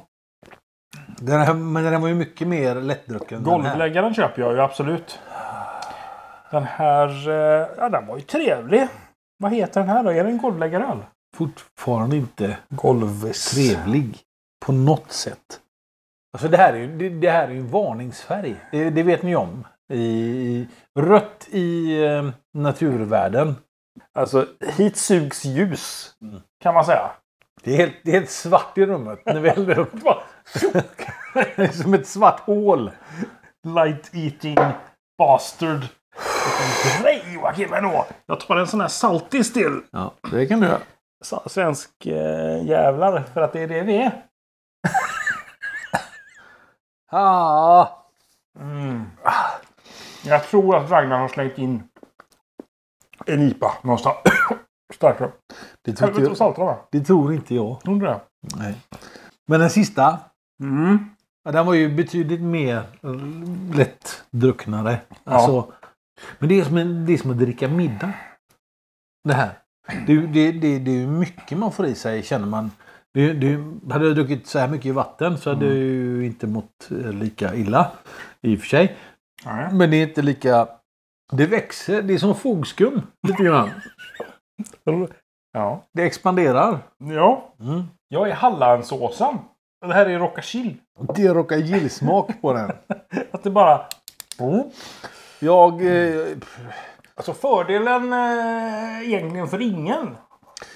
Den här, men den var ju mycket mer lättdrucken.
Golvläggaren köper jag ju absolut. Den här, eh, ja den var ju trevlig. Vad heter den här då? Är det en golvläggaröl?
Fortfarande inte
Golvis.
trevlig. På något sätt. Alltså det här är ju, det, det här är ju en varningsfärg. Det, det vet ni om. I, i, rött i eh, naturvärden.
Alltså, hit sugs ljus. Kan man säga.
Det är, helt, det är helt svart i rummet när vi häller upp. Det är som ett svart hål.
Light eating bastard. Vilken grej Joakim ändå. Jag tar en sån här saltis till.
Ja, det kan du göra.
Sa- Svensk eh, jävlar. För att det är det vi är.
Ja,
Jag tror att Ragnar har slängt in en IPA någonstans. (coughs) Starkare.
det tror,
Helvete vad
inte,
saltade va?
det tror inte jag.
Undrar jag.
Nej. Men den sista.
Mm.
ja, Den var ju betydligt mer eh, lättdrucknare. Alltså, Men det är, som en, det är som att dricka middag. Det här. Det, är ju- det, det, det är ju mycket man får i sig känner man. Det, är- det, är ju- hade jag druckit så här mycket vatten så hade jag ju inte mått eh, lika illa. I och för sig.
Nej.
Men det är inte lika... Det växer. Det är som fogskum. Lite grann.
Ja.
Det expanderar.
ja.
Mm.
Jag är Hallandsåsen. Det här är Rockachill.
Det råkar gillsmak på den.
Att det bara...
Mm. Jag... Eh,
Alltså fördelen eh, egentligen för ingen.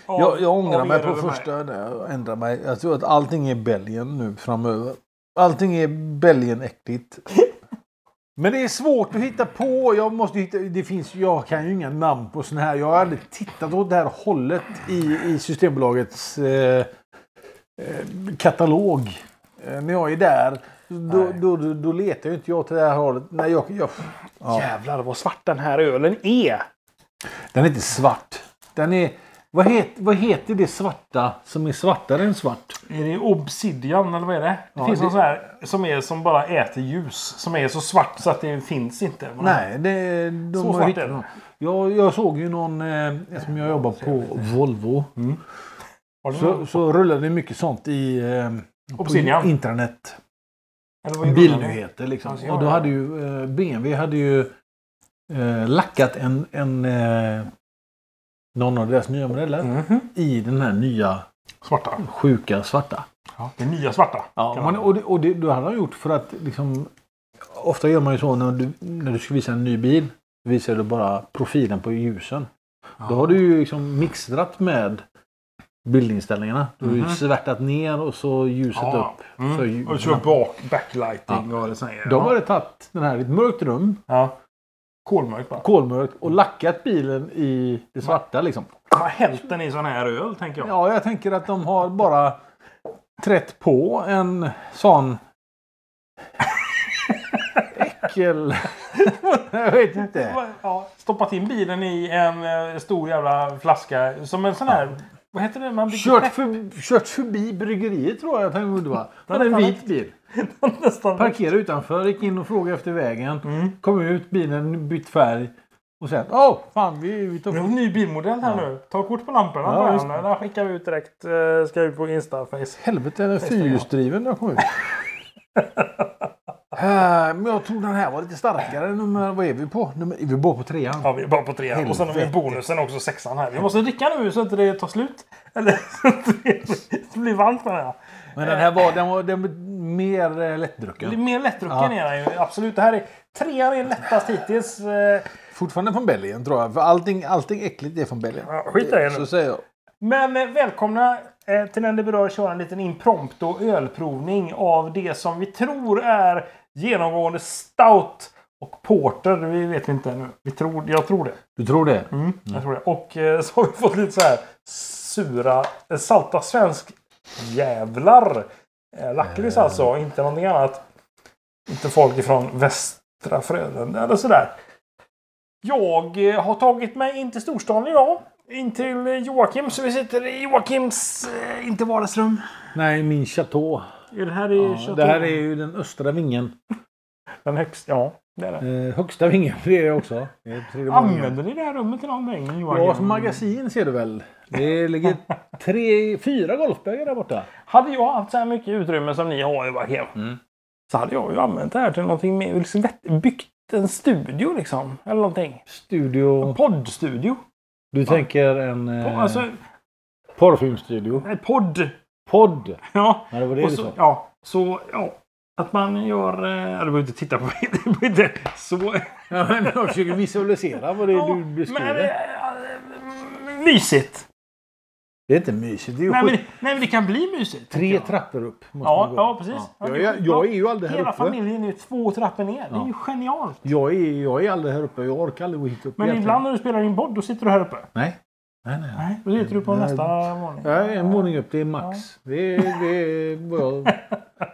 Av-
Jag, jag ångrar
av
mig
er
på
eller mig.
första. där. Jag ändrar mig. Jag tror att allting är Belgien nu framöver. Allting är Belgien-äckligt. (laughs) Men det är svårt att hitta på. Jag, måste hitta, det finns, jag kan ju inga namn på såna här. Jag har aldrig tittat åt det här hållet i, i Systembolagets eh, eh, katalog. Eh, när jag är där, då,
Nej.
då, då, då letar ju inte jag till det här hållet. Nej, jag, jag, ja.
Jävlar vad svart den här ölen är.
Den är inte svart. Den är, vad, het, vad heter det svarta som är svartare än svart?
Är det obsidian eller vad är det? Det
Ja,
finns
det-
någon sån här som, är, som bara äter ljus. Som är så svart så att det finns inte.
Nej, det, de
Så
har
svart
hittat
är den.
någon. Jag, jag såg ju någon, eh, eftersom jag jobbar på Volvo,
Har du
så,
någon?
så rullade det mycket sånt i eh, på
Obsidian.
internet.
Eller vad är det?
Bildnyheter liksom.
Ja, så
Och då
jag-
hade ju eh, BMW hade ju eh, lackat en, en eh, någon av deras nya modeller
Mhm.
i den här nya
Svarta.
sjuka svarta.
Ja. Det nya svarta.
Ja,
Kan
man,
man-
och det, och det, det hade han gjort för att liksom, Ofta gör man ju så när du, när du ska visa en ny bil. Visar du bara profilen på ljusen. Då har du ju liksom mixtrat med bildinställningarna. Du har ju
Mhm.
svärtat ner och så ljuset
Ja.
upp.
Mm.
För ljus.
Och kör bak, backlighting och sådana grejer.
De hade tagit den här i ett mörkt rum,
Ja. Kolmörkt bara.
kolmörkt, och lackat bilen i det svarta liksom.
De har hällt den i sån här öl tänker jag.
Ja, jag tänker att de har bara trätt på en sån äckel... jag vet inte.
Ja, stoppat in bilen i en eh, stor jävla flaska. Som en sån här... Vad heter det? Man blir
Kört, för, kört förbi bryggeriet tror jag att han gjorde va? Han hade en vit bil.
(laughs) nästan... Mm.
Parkerade utanför, gick in och frågade efter vägen. Kom ut, bilen bytt färg. Och sen, åh fan vi, vi tar
Vi har
bort
en ny bilmodell här nu. Ta kort på lamporna
Ja,
bara.
just
Den här skickar vi ut direkt. eh, Ska ut på Insta-face.
Helvete, den är fyrhjulsdriven när jag (laughs) kom ut. Eh, Men jag tror den här var lite starkare. Nummer, vad är vi på? Nummer, är vi bara på trean?
Ja, vi är bara på tre. Och sen har vi
Helvete.
bonusen också, sexan här. Vi måste dricka nu så att det tar slut. Eller (laughs) så att det blir varmt med den här.
Men den här var, den var, den var mer eh,
Det är
lättdrucken.
mer lättdrucken är den ju. Absolut. Det här är... Trean är lättast hittills. eh,
Fortfarande från Belgien tror jag. För allting, allting äckligt är från Belgien.
Ja, skit i det nu.
Så säger jag.
Men eh, välkomna eh, till när det berör köra en liten impromptu ölprovning av det som vi tror är genomgående stout och porter. Vi vet inte ännu. Vi tror, jag tror det.
Du tror det?
Jag tror det. Och eh, så har vi fått lite så här sura, eh, salta svensk jävlar. Eh, Lakrits alltså, inte någonting annat. Inte folk ifrån västra Frölunda eller sådär. Jag eh, har tagit mig in till storstan idag. In till eh, Joakim, så vi sitter i Joakims, eh, inte vardagsrum.
Nej, min chateau.
Är det här i
Ja, det här är ju den östra vingen.
Den högsta, ja. Det är det.
Eh, högsta vingen blir det också. Det är tredje våningen.
Använder ni det här rummet till någonting? Joakim?
Ja, som magasin ser du väl?
Det
(laughs)
ligger tre, fyra golfbögar där borta.
Hade jag haft så här mycket utrymme som ni har Joakim. Så hade jag ju använt det här till någonting mer. Liksom vett- byggt en studio liksom. Eller någonting.
Studio.
En poddstudio.
Du tänker en
Po-
eh,
Alltså,
porrfilmsstudio.
en podd. (laughs)
Podd.
Ja.
Ja, det var det
Och
du
så,
sa.
ja, så ja. Att man gör... eh, Ja, du behöver inte titta på (laughs) mig. Du behöver inte så...
Ja, men jag försöker visualisera vad det är
(laughs) Ja,
du beskriver.
men, eh, mysigt.
Det är inte mysigt. Det är
Nej men,
skit.
nej, men det kan bli mysigt.
Tre trappor upp. måste
Ja,
man gå.
ja precis. Ja,
Jag
det
är, jag är ju aldrig här
Hela
uppe.
familjen är ju två trappor ner. Det är ju genialt.
Jag är, jag är aldrig här uppe. Jag orkar aldrig gå hit upp
Men
egentligen.
ibland när du spelar din podd, då sitter du här uppe.
Nej. Nej, nej.
Nej, då sitter du på
Nej.
nästa våning.
Jag är en våning upp. Det är max. Det, är, det, är, vad jag-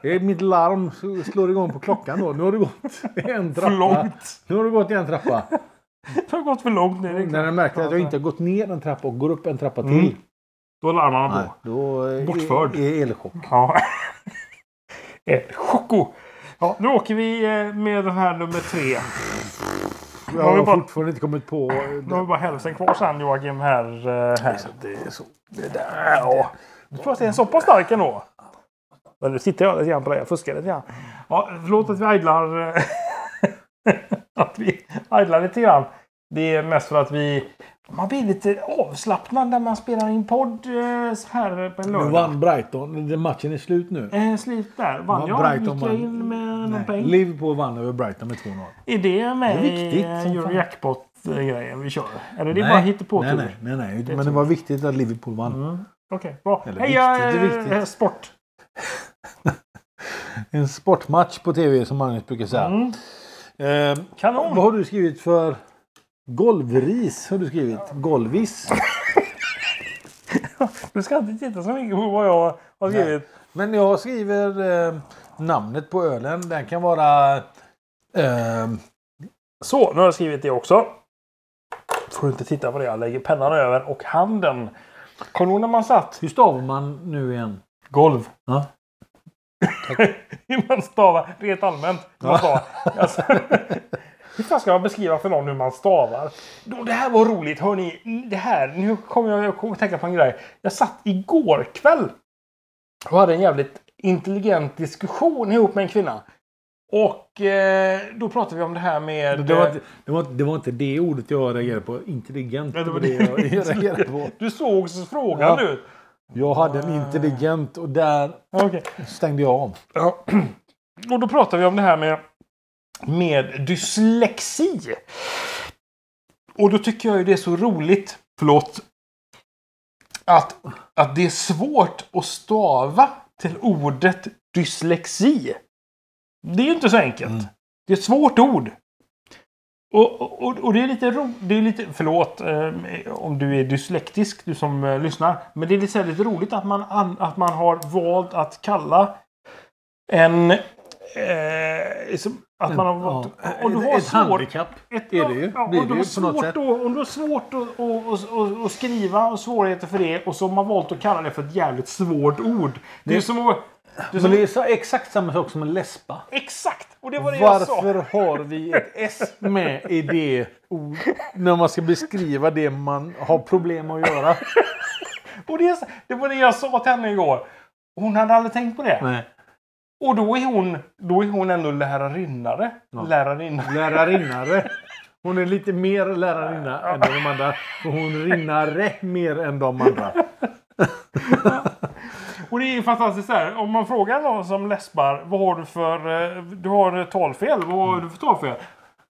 det är mitt larm som slår igång på klockan då. Nu har du gått en
För
trappa.
långt.
Nu har du gått en trappa.
Det har gått för långt nu. det är klart.
När jag märker att jag inte har gått ner en trappa och går upp en trappa till.
Mm. Då larmar man
Nej,
på.
då är,
Bortförd.
är elchock.
Ja. (laughs) Eh, Choco! Ja, nu åker vi eh, med den här nummer tre.
Jag
har vi
har
bara-
fortfarande inte kommit på...
Nu har vi bara hälften kvar sen Joakim här. eh, här.
Det är så.
Ja. Du tror att det är en så pass stark ändå? Men nu tittar jag lite grann på det. Jag fuskar lite grann. Ja, förlåt att vi idlar. eh, (laughs) att vi idlar lite grann. Det är mest för att vi... Man blir lite avslappnad när man spelar in podd eh, så här på en
Nu
lördag.
vann Brighton. Den Matchen är slut nu.
Eh, slit där. Vann
Ja,
jag?
Brighton
Gick jag
vann.
in med någon
Nej,
peng?
Liverpool vann över Brighton med 2-0.
Är det med
Det är viktigt som
i
fan.
Eurojackpot-grejen vi kör? Eller det är bara hittepå-tur?
nej,
Okej,
nej, nej, nej.
Det Mm. är
Men det
tur.
var viktigt att Liverpool vann.
bra.
Eller
Hej, jag
viktigt, det är
är eh,
viktigt.
sport.
En sportmatch på tv som Magnus brukar säga.
Mm.
Eh,
Kanon!
vad har du skrivit för golvris? Har du skrivit? Golvis?
Du ska inte titta så mycket på vad jag har skrivit.
Men jag skriver eh, namnet på ölen. Den kan vara... Eh,
Så, nu har jag skrivit det också. Får du inte titta på det. Jag lägger pennan över och handen. Kommer du ihåg när man satt?
hur stavar man nu igen?
Golv.
Ja.
hur (laughs) man stavar. Rent allmänt. Hur man stavar. Alltså, (laughs) hur fan ska man beskriva för någon hur man stavar? Då, det här var roligt. Hörni, det här. Nu kommer jag, jag kommer att tänka på en grej. Jag satt igår kväll och hade en jävligt intelligent diskussion ihop med en kvinna. Och eh, då pratade vi om det här med...
Det var, inte, det, var, inte- det var inte det ordet jag reagerade på. Intelligent.
Ja, det var
jag
(laughs) det.
reagerade på.
Du såg så frågan
Ja.
ut.
Jag hade en intelligent och där
Okej.
stängde jag av.
Ja. (clears throat) Och då pratar vi om det här med, med dyslexi. Och då tycker jag ju det är så roligt, förlåt, att, att det är svårt att stava till ordet dyslexi. Det är ju inte så enkelt.
Mm.
Det är ett svårt ord. Och, och, och det är lite roligt, det är lite, förlåt eh, om du är dyslektisk, du som eh, lyssnar. Men det är lite, så här lite roligt att man, an, att man har valt att kalla en... Eh, som, att man har valt...
Ja.
Och du har
ett
svårt...
handikapp
Ett,
är det ju.
Ja,
blir
och du
det
har
ju på något
svårt
sätt.
då- om du har svårt att och, och, och skriva och svårigheter för det och så har man valt att kalla det för ett jävligt svårt ord. Det, är
Det-
som att... Det är
Men
som,
det är så, exakt samma sak som en läspa.
Exakt! Och det var det jag sa.
Varför har vi ett S med i det ord när man ska beskriva det man har problem att göra?
Och det, är så- det var det jag sa till henne igår. Hon hade aldrig tänkt på det.
Nej.
Och då är hon, då är hon ändå lärarinnare. Lärarinna.
Lärarinnare. Hon är lite mer lärarinna än de andra. För hon rinnare mer än de andra.
Och det är ju fantastiskt så här. Om man frågar någon som läspar. Vad har du för... eh, Du har eh, talfel. Vad har du för talfel?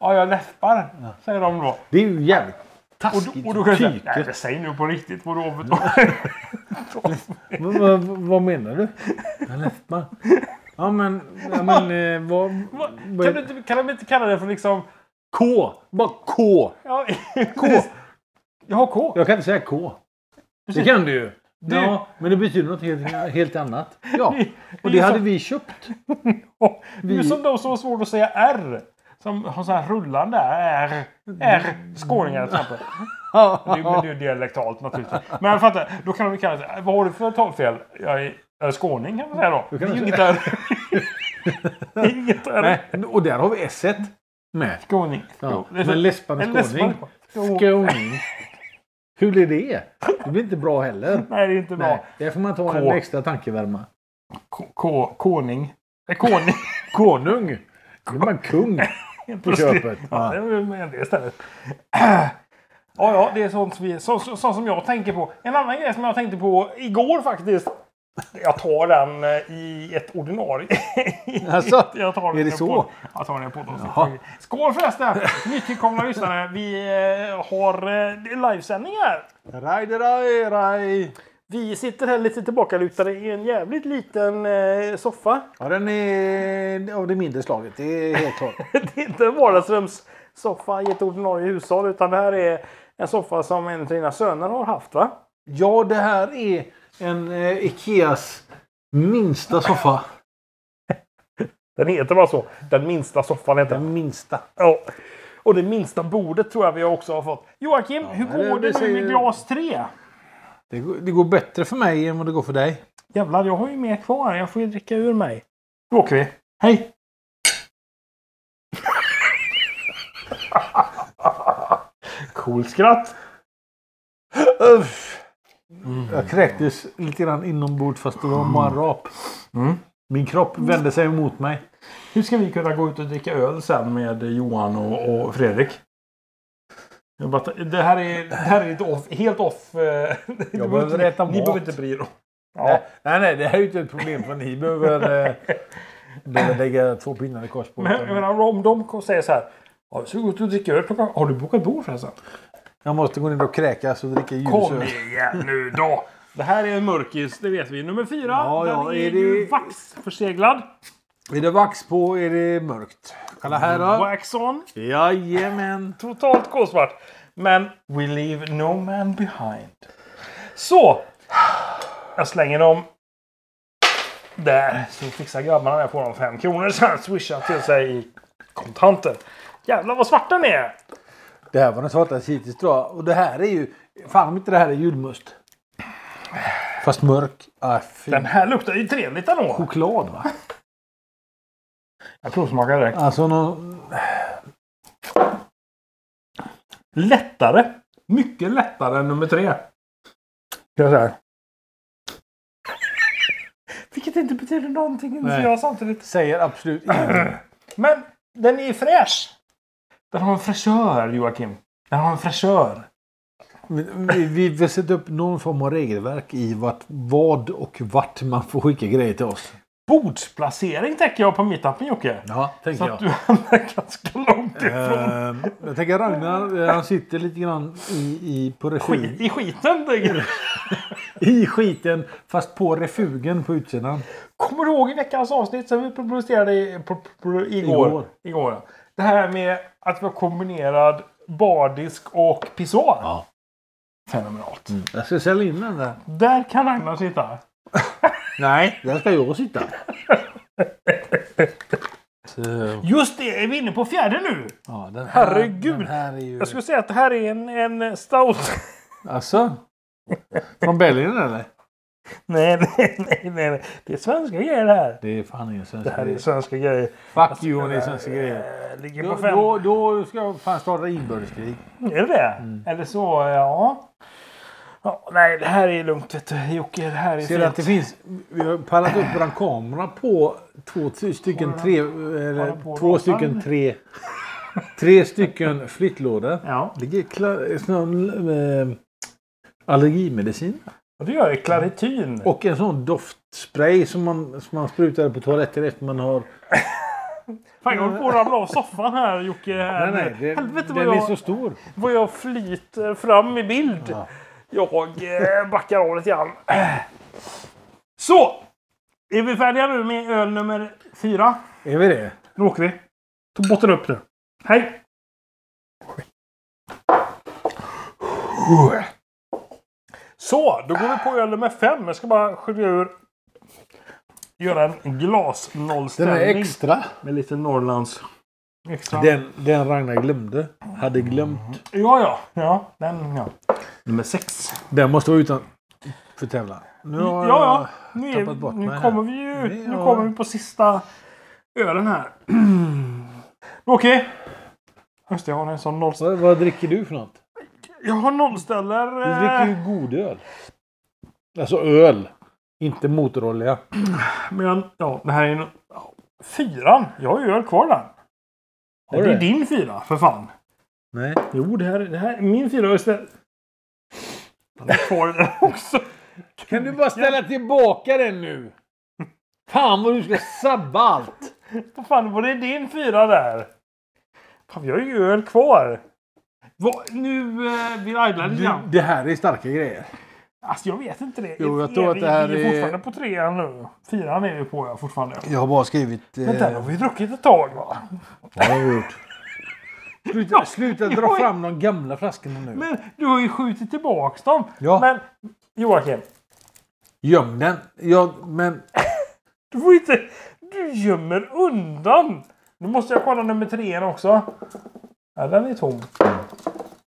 Ja, jag läspar. Säger de då.
Det är ju jävligt
Och,
taskigt.
då- och då kan jag säga.
Tyket.
Nej, men säg nu på riktigt vad du har för talfel.
Men vad- vad menar du? En läspa? Ja men... Ja, men eh, vad,
kan, du, inte- kan de inte kalla det för liksom...
K! Bara K!
Ja, K. Jag har K.
Jag kan inte säga K. Det kan du ju. Ja, men det betyder något helt, helt annat. Ja, och
det
(laughs) det
är
hade
så-
vi köpt.
Du är som de som har svårt att säga R. Som har så här rullande R. R. Skåningar till exempel. Det är ju- Men det är ju dialektalt naturligtvis. Men jag fattar. Då kan du kalla det Vad har du för talfel? Jag är, jag är skåning kan man säga då. Det
kan
är ju
du
inget R. Det är inget R.
Nej, och där har vi S. med.
Skåning.
Ja.
Det är så-
Men läspande
en läspande
skåning.
skåning.
Skåning. Hur blir det? Det blir inte bra heller.
Nej, det är inte
(laughs) Nej,
bra.
där får man ta
K.
en extra tankevärma.
K- K- Koning. Eh, Koning.
(laughs) Konung. Då är man (laughs) kung på köpet.
Ja,
Ja.
det är med det istället. (clears throat) Ja, ja, det är sånt som, vi, så, så, sånt som jag tänker på. En annan grej som jag tänkte på igår faktiskt. Jag tar den eh, i ett ordinarie. (laughs)
Alltså,
jag tar den
är det
i en
så?
podd. Jag tar den i en podd.
Jaha.
också. Skål förresten!
(laughs)
Nytillkomna lyssnare. Vi eh, har eh, det är livesändning här.
Raj, raj, raj.
Vi sitter här lite tillbakalutade i en jävligt liten eh, soffa.
Ja, den är av det mindre slaget. Det är helt klart.
(laughs) det är inte en vardagsrumssoffa i ett ordinarie hushåll utan det här är en soffa som en av dina söner har haft va?
Ja, det här är en eh, Ikeas minsta soffa.
Den heter bara så. Den minsta soffan heter den.
Den minsta.
Ja. Och det minsta bordet tror jag vi också har fått. Joakim, hur
men det-
går det,
det
nu med
säger-
glas 3?
Det går, det går bättre för mig än vad det går för dig.
Jävlar, jag har ju mer kvar. Jag får ju dricka ur mig. Då åker vi. Hej! (laughs) Coolt skratt.
Uff. Mm. Jag kräktes lite grann inombords fast det var bara en rap.
Mm.
Min kropp vände sig emot mig.
Hur ska vi kunna gå ut och dricka öl sen med Johan och, och Fredrik? Jag bara, det här är, det här är lite off, helt off. eh, (laughs) ni
behöver
inte-
äta
Ni
mat.
behöver inte bry er om. Ja.
Nej, nej, nej, det här är ju inte ett problem för ni behöver, eh, (laughs) behöver lägga två pinnar i kors på.
Men, jag menar, om de säger så här. Ja, vi ska gå ut och dricka öl klockan... Har du bokat bord förresten?
Jag måste gå ner och kräkas och dricka
Kom
ljus.
igen nu då! Det här är en mörkis, det vet vi. Nummer fyra,
Ja,
den
ja,
är,
är det-
ju vaxförseglad.
Är det vax på är det mörkt. Kalla här då.
Wax on.
Jajamän.
Totalt kolsvart. Men we leave no man behind. Så! Jag slänger dem. Där, så fixar grabbarna det. Får de fem kronor sen swishar till sig i kontanter. Jävlar vad svart den är!
Det här var den svartaste hittills tror jag. Och det här är ju... Fan om inte det här är julmust. Fast mörk. Ah, fy.
Den här luktar ju trevligt ändå.
Choklad va?
Jag provsmakar direkt.
Alltså någon...
Lättare. Mycket lättare än nummer tre. Jag säger. Vilket inte betyder någonting.
Nej.
Jag samtidigt.
Säger absolut ingenting.
Men den är fräsch. Den har en fräschör, Joakim. Den har en fräschör.
Men Vi, vi vill sätta upp någon form av regelverk i vart, vad och vart man får skicka grejer till oss.
Bordsplacering tänker jag på meetupen, Jocke.
Ja,
Så
tänker
att du hamnar ganska långt ifrån.
Ehm, jag tänker Ragnar, eh, han sitter lite grann i, i, på
Skit,
refugen.
I skiten. det-
I skiten, fast på refugen på utsidan.
Kommer du ihåg i veckans avsnitt som vi publicerade i, pro, pro, igår?
Igår.
igår ja. Det här med att vi har kombinerad bardisk och pissoar.
Ja.
Fenomenalt.
Jag ska sälja in den där.
Där kan Ragnar sitta.
Nej, där ska jag sitta. Så,
Just det, är vi inne på fjärde nu?
ja, den här,
Herregud.
Den här är ju...
Jag skulle säga att det här är en, en stout.
Alltså? Från Belgien eller?
Nej, (laughs) nej, nej, nej, nej. Det är svenska grejer det här.
Det är fan ingen svensk
Det här är
grej.
svenska grejer.
Fuck you om det är svenska Mm. grejer.
Eh, Ligger
Då,
på fem.
då, då ska jag fan starta inbördeskrig.
Är det det?
Mm.
Eller så, ja. ja. Nej, det här är lugnt vet du. Jocke, det här är
Ser du att det
fint.
finns... Vi har pallat upp våran kamera på två ty- stycken tre...
Kolla på
Eller, två
ratan.
stycken tre... Tre stycken flyttlådor.
Ja,
ligger kla- sån, eh, allergimedicin.
och det gör det. Clarityn.
Och en sån doftspray som man, som man sprutar på toaletten efter man har...
Fan, jag håller på att ramla av soffan här Jocke. Här. Helvete vad
den är
jag,
så stor.
vad jag flyter fram i bild.
Ja.
Jag eh, backar av lite grann. Så! Är vi färdiga nu med öl nummer fyra?
Är vi det?
Nu åker vi. Ta botten upp nu. Hej! Så, då går vi på öl nummer fem. Jag ska bara skölja ur. Göra en
Den är
glasnollställning.
extra.
Med lite Norrlands... Extra.
Den, den Ragnar glömde. Hade glömt.
Ja, ja. Ja, den ja. Nummer sex.
Den måste vara utan... För tävlan. Nu
Ja,
har
ja. Nu, är,
tappat bort
nu
mig här.
kommer vi ju...
Vi
Nu (clears throat)
har-
kommer vi på sista ölen här. Okej. Just det, jag har en sån nollställare.
Vad, vad dricker du för något?
Jag har
Du
Eh.
dricker
nollställare.
ju god öl. Alltså öl. Inte motorolja.
Men ja, det här är en... ja, Fyran. Jag har ju öl kvar där.
Har
det
du
är
det?
din fyra, för fan.
Nej.
Jo, det här, det här är min fyra. Just det. Den (laughs) är kvar där också.
Kan du bara ställa tillbaka den nu? Fan vad du ska sabba allt.
Vad fan, var det din fyra där? Fan, vi har ju öl kvar. Vad- Nu eh, vi idlar lite
Du,
grann.
det här är starka grejer.
Alltså jag vet inte det.
Jo, jag
Är
tror att
vi,
det här
vi är
är-
fortfarande på trean nu. Fyran är vi på ja, fortfarande.
Jag har bara skrivit... eh,
Men den har vi druckit ett tag va?
Sluta, sluta
Jo.
dra fram de gamla flaskorna nu.
Men du har ju skjutit tillbaks dem.
Ja.
Men Joakim,
Göm den. Jag, men...
du får inte... Du gömmer undan! Nu måste jag kolla nummer trean också. Ja, den är tom.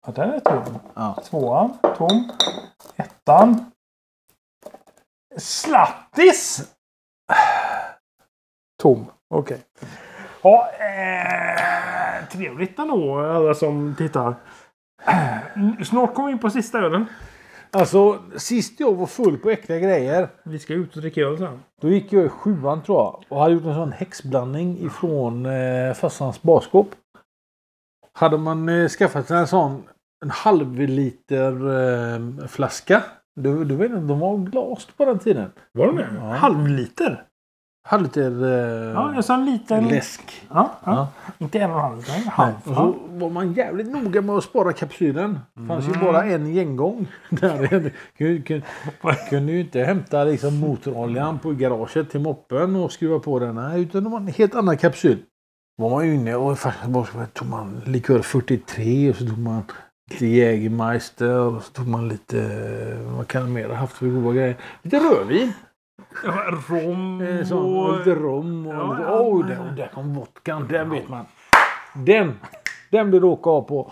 Ja, den är tom.
Ja.
Tvåan, tom. Ettan. Slattis! Tom. Okej. Ja, eh, trevligt ändå, alla som tittar. Mm, Snart kommer vi in på sista ölen.
Alltså, sist jag var full på äckliga grejer.
Vi ska ut och dricka öl sen.
Då gick jag i sjuan tror jag och hade gjort en sån häxblandning ifrån eh, farsans barskåp. Hade man eh, skaffat sig en sån en halv liter eh, flaska. Du, du vet inte, de var glas på den tiden.
Var det det?
Ja.
Halvliter?
Halv liter eh,
Ja, jag sa en liten.
läsk.
Ja, ja.
Ja.
Inte en och en halv, utan en
Nej,
halv.
och så var man jävligt noga med att spara kapsylen. fanns
Mm.
ju bara en gengång. (laughs) Där kunde, kunde, kunde ju inte hämta liksom motoroljan på garaget till moppen och skruva på den. Nej, utan det var en helt annan kapsyl. var man ju inne och faktiskt bara så tog man likör 43 och så tog man lite Jägermeister och så tog man lite, vad kan man mer ha haft för goda grejer? Lite rödvin.
Ja. Rom
Eh, Så, och
och...
lite rom och
Ja,
lite...
ja.
Oh, där, och där kom vodkan. Den vet man. Den! Den blir åka av på.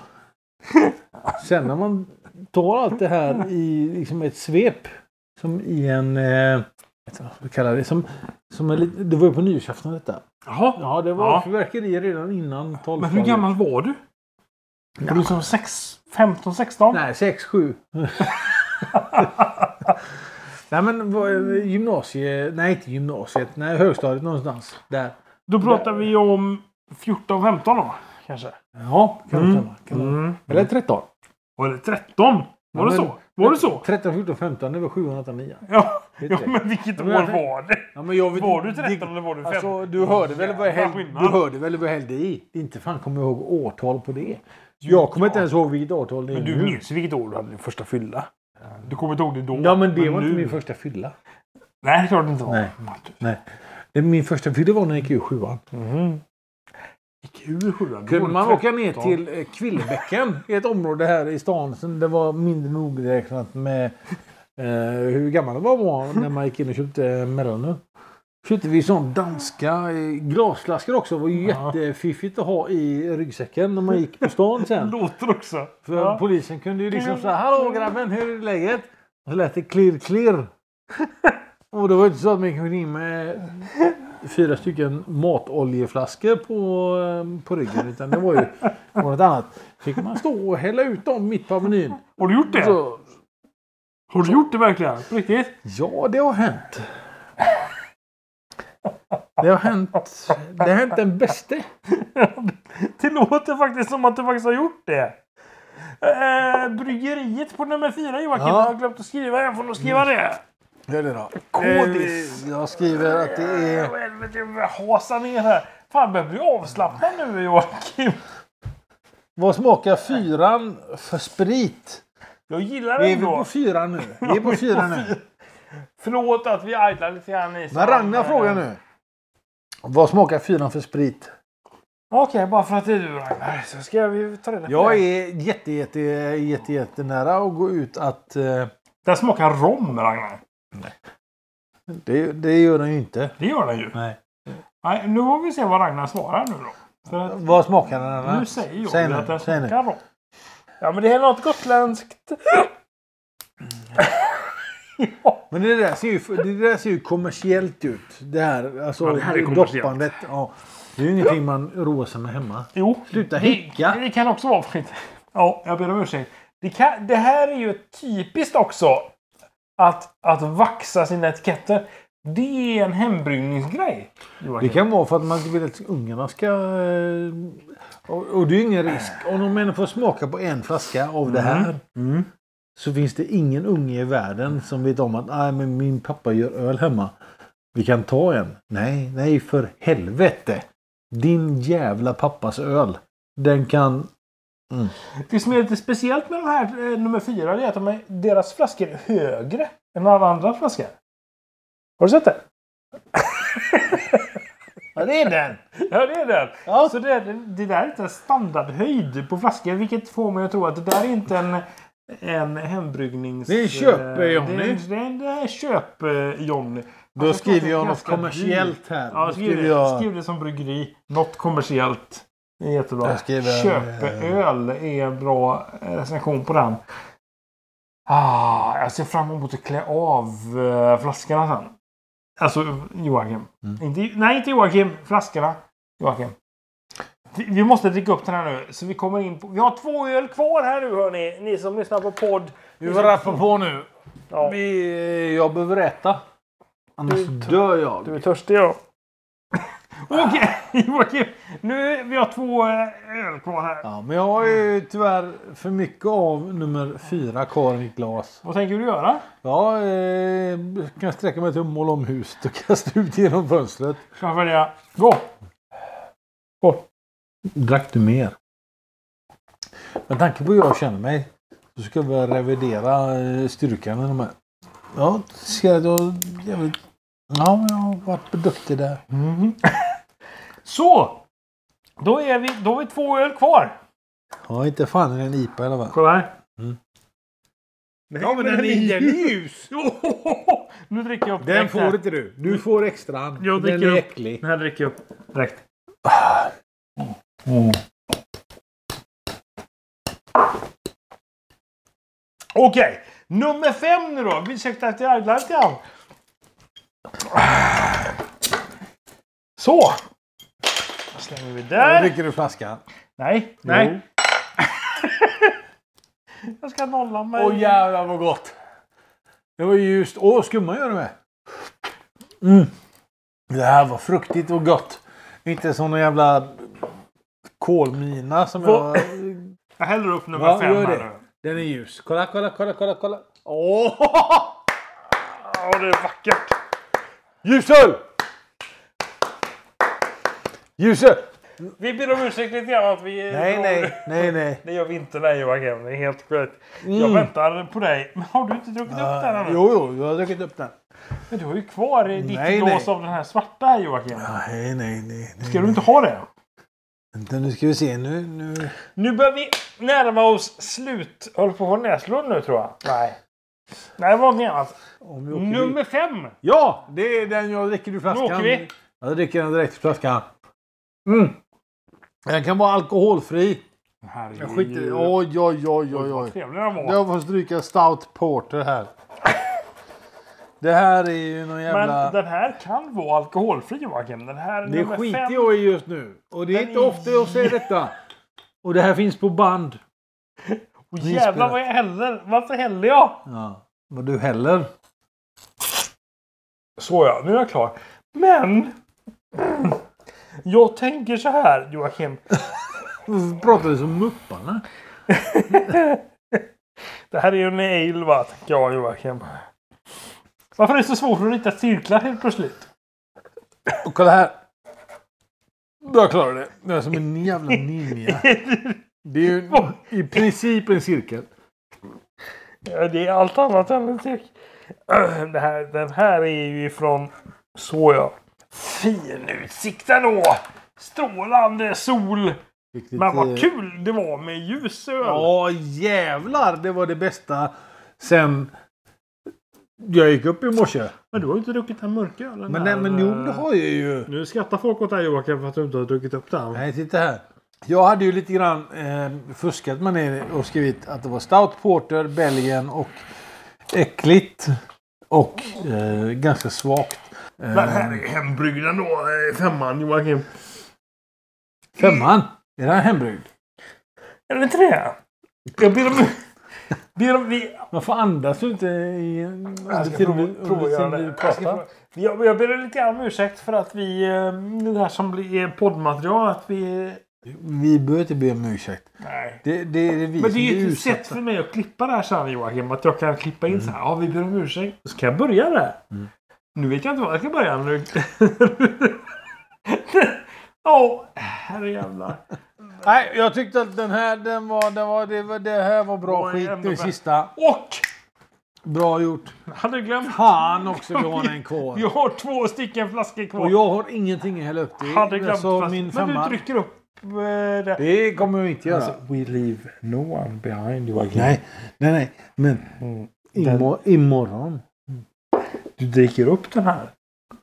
Sen när man tar allt det här i liksom ett svep. Som i en... Eh, vet inte vad vi kallar det. Som, som en, lit- det var ju på nyårsafton detta.
Jaha.
Ja, det var
Ja.
fyrverkerier redan innan 12
Men hur gammal var du? Var du som sex, 15, 16?
Nej, 6, 7. (laughs) Nej men vad- gymnasiet, nej inte gymnasiet, nej högstadiet någonstans. Där.
Då pratar vi om 14, 15 då? Kanske.
Ja, kan det stämma. Kan det- Eller 13.
Var det 13? Var
Mm. Ja,
det
men-
så? Var det så?
13, 14, 15. Det var 7, 8, 9.
Ja,
Vet
ja
jag.
men vilket
Ja,
år
men jag
var det?
Ja, men jag vet,
Var du 13 eller var du 15?
Alltså, du hörde väl vad jag
Jävla
hällde,
skillnad.
du hörde väl vad jag hällde i? Inte fan kommer jag ihåg årtal på det. Jag kommer
ja.
inte ens ihåg vilket årtal det är
Men du
nu.
minns ju vilket år du hade din första fylla. Du kommer inte ihåg det då?
Ja, men det var inte
nu-
min första fylla.
Nej, det är klart det inte var.
Nej.
Martin.
Nej. Det- Min första fylla var när jag gick ur sjuan.
Gick ur sjuan.
Mhm. Kunde man åka ner
Ja.
till eh, Kvillebäcken, ett område här i stan som det var mindre nogräknat med eh, hur gammal man var var när man gick in och köpte eh, mellanöl. Köpte vi sån danska eh, glasflaskor också. Det var ju
Ja.
jättefiffigt att ha i ryggsäcken när man gick på stan sen.
Låter också.
För
Ja.
polisen kunde ju liksom säga Hallå grabben, hur är läget? Och så lät det klirr klirr. och det var inte så att man gick in med fyra stycken matoljeflaskor på, eh, på ryggen. Utan det var ju det var något annat. Fick man stå och hälla ut dem mitt på Avenyn.
Har du gjort det?
Så,
Har du gjort det verkligen? På riktigt? (laughs)
ja, det har hänt. Det har hänt. Det har hänt den bäste.
Det låter faktiskt som att du faktiskt har gjort det. Eh, bryggeriet på nummer fyra Joakim.
Ja.
Jag har glömt att skriva. Jag får nog skriva det.
Gör det då. Eh,
Kodis.
Jag skriver att det är...
Åh, Helvete, jag börjar hasa ner här. Fan, jag blir avslappnad nu Joakim.
Vad smakar fyran för sprit?
Jag gillar
Vi är väl
ändå.
på fyra nu. Vi är på fyra nu.
Förlåt att vi idlar lite grann i...
Men Ragnar frågar nu. Vad smakar fyran för sprit?
Okej, bara för att det är du Ragnar så ska vi ta reda på
Jag
det.
är jätte, jätte, jätte, jätte nära att gå ut att... eh,
Den smakar rom Ragnar.
Det, det gör den ju inte.
Det gör den ju.
Nej.
Nej, nu får vi se vad Ragnar svarar nu då. För att
Vad smakar den? Anna?
Nu säger jag
Säg
ju
nu,
att den
säg nu.
smakar rom. Ja, men det är något gotländskt. (laughs) ja.
Men det där ser ju, det där ser ju kommersiellt ut. Det här, alltså
Ja, det här är kommersiellt.
doppandet. Ja. Det är ju ingenting man roar sig med hemma.
Jo.
Sluta
det-
hicka.
Det kan också vara skit. Ja, jag ber om ursäkt. Det, kan, det här är ju typiskt också. Att, att vaxa sina etiketter. Det är en hembryggningsgrej.
Det kan vara för att man inte vill att ungarna ska... eh, Och, och det är ju ingen risk. Om de ändå får smaka på en flaska av det
Mm.
här. Mm. Så finns det ingen unge i världen som vet om att nej, men min pappa gör öl hemma. Vi kan ta en. Nej, nej för helvete. Din jävla pappas öl. Den kan...
Det som är lite speciellt med de här eh, nummer fyra det är att de är, deras flaskor är högre än alla andra flaskor. Har du sett det?
Ja, det är den!
Ja, det är den.
Ja.
Så det, det där är inte en standardhöjd på flaskor, vilket får mig att tro att det där är inte en, en hembryggnings...
Det är en köp-Johnny.
Det är en- det är en, det är en eh, köp-Johnny.
Då skriver jag något kommersiellt här.
Ja,
Då
skriv,
skriver
det.
jag...
skriv det som bryggeri. Något kommersiellt. Det är jättebra.
Jag skriver- eh,
Köpeöl är en bra eh, recension på den. Ah, jag ser fram emot att klä av eh, flaskorna sen. Alltså Joakim.
Mm.
Inte, nej, inte Joakim. Flaskorna. Joakim. Vi, vi måste dricka upp den här nu. Så vi kommer in på... Vi har två öl kvar här nu hörni. Ni som lyssnar på podd.
Vi får rappa på nu.
Ja.
Vi, eh, jag behöver äta. Annars dör jag.
Du är törstig ja. (laughs) Okej (laughs) Joakim. Nu, vi har två eh, öl kvar här.
Ja, men jag har ju tyvärr för mycket av nummer fyra kvar i mitt glas.
Vad tänker du göra?
Ja, eh, kan jag sträcka mig till att måla om huset och kasta ut genom fönstret.
Ska jag välja? Gå!
Drack du mer? Med tanke på hur jag känner mig så ska vi revidera eh, styrkan i de här. Ja, ser jag då... Jag vet, ja, men jag har varit duktig där.
Mm. (laughs) Så! Då är vi, då har vi två öl kvar.
Ja, inte fan är det en IPA i alla fall.
Kolla här.
Nej,
(laughs) ljus! nu dricker jag upp
Den
direkt
får
här.
inte du. Du får extra.
Jag
Den
dricker
är
upp.
äcklig.
Den här dricker jag upp direkt. Okej, nummer fem nu då. Vi ursäkta att jag idlar lite grann. Så! Då slänger vi
Då
där.
dricker du flaskan.
Nej, nej. jag ska nolla mig.
Åh jävlar vad gott! Det var ju just... Åh, skumma gör det med! Mm. Det här var fruktigt och gott. Inte som någon jävla kolmina som
Vad-
jag... (laughs)
Jag häller upp nummer
Ja,
fem
gör
här
det.
nu.
Den är ljus. Kolla, kolla, kolla, kolla, kolla! Åh!
(laughs) Ja, det är vackert.
Ljusöl! Ljusöl!
Vi ber om ursäkt lite grann att vi...
Nej, nej, nej, (laughs) nej.
Det gör vi inte nej Joakim. Det är helt korrekt. Jag väntar på dig. Men har du inte druckit upp den ännu?
Mm. Ah, Jo, jo, jag har druckit upp den.
Men du har ju kvar i ditt
Nej,
glas
nej.
av den här svarta här Joakim.
Nej, nej, nej. nej.
Ska du inte ha det?
Vänta, nu ska vi se. Nu, nu...
Nu börjar vi närma oss slut. Håller på att få näsblod nu tror jag. Nej. Nej, det var något annat.
Om vi åker dit.
Nummer fem.
Ja, det är den jag dricker ur flaskan.
Nu åker vi.
Jag dricker den direkt ur flaskan. Mm. Den kan vara alkoholfri. Jag skiter i. Oj, oj, oj, oj,
Vad
oj.
trevlig den var.
Jag får stryka stout porter här. Det här är ju någon
Men
jävla...
den här kan vara alkoholfri Joakim. Den här
det
nummer
skiter
fem.
jag i just nu. Och det är
Den
inte
är-
ofta jag säger detta. Och det här finns på band.
Och jävlar vad jag häller. Varför häller jag?
Ja. Vad du heller.
Så ja, nu är jag klar. Men! Jag tänker så här Joakim.
Varför pratar du som mupparna?
Det här är ju en ale va, tänker jag Joakim. Varför är det så svårt att rita cirklar helt plötsligt? (laughs)
Och kolla här. Jag klarar det. Jag är som en jävla ninja. Det är
(laughs)
ju en, i princip en cirkel.
Ja, Det är allt annat än en cirkel. (clears throat) Det här, den här är ju ifrån... Så ja. Fin utsikt ändå! Strålande sol.
Riktigt,
Men
eh,
vad kul det var med ljusöl.
Ja jävlar, det var det bästa sen jag gick upp i morse.
Men du har ju inte druckit den mörka ölen.
Men,
här,
nej, men jo,
eh,
det har jag ju.
Nu skrattar folk åt dig Joakim för att du inte har druckit upp den.
Nej, titta här. Jag hade ju lite grann eh, fuskat med det och skrivit att det var stout porter, Belgien och äckligt. Och eh, ganska svagt. Eh,
Den här är hembryggd ändå, eh, femman Joakim.
Femman. Är den hembryggd?
Är det inte det? Jag ber (laughs) om... Ber om vi,
Varför andas du inte i...
jag
under
ska
tiden vi-
prova, prova
under
att göra det.
tiden vi
Jag, ska prova.
pratar?
jag, jag ber lite grann om ursäkt för att vi... eh, Det här som blir poddmaterial att vi...
Vi behöver inte be om ursäkt.
Nej.
Det, det är vi
Men det är
som
Mm.
blir
ju ett
utsatta.
sätt för mig att klippa det här sen Joakim. Att jag kan klippa in så här. Ja, vi ber om ursäkt. Så kan jag börja där. Nu vet jag inte var jag ska börja. Nu. (laughs) Åh, herrejävlar.
Nej, jag tyckte att den här, den var, den var, det, var, det här var bra
Var
skit.
ändå
Nu
bra.
sista.
Och!
Bra gjort.
Hade glömt.
Fan också, vi har en
(laughs)
kvar.
Vi har två stycken flaskor kvar.
Och jag har ingenting att hälla upp till.
hade glömt
så
flaskan.
min
Men du
femma.
trycker upp eh, det.
Det kommer vi inte göra.
Alltså, we leave no one behind Joakim.
Nej, nej, nej. Men
Mm.
imor- imorgon.
Du dricker upp den här.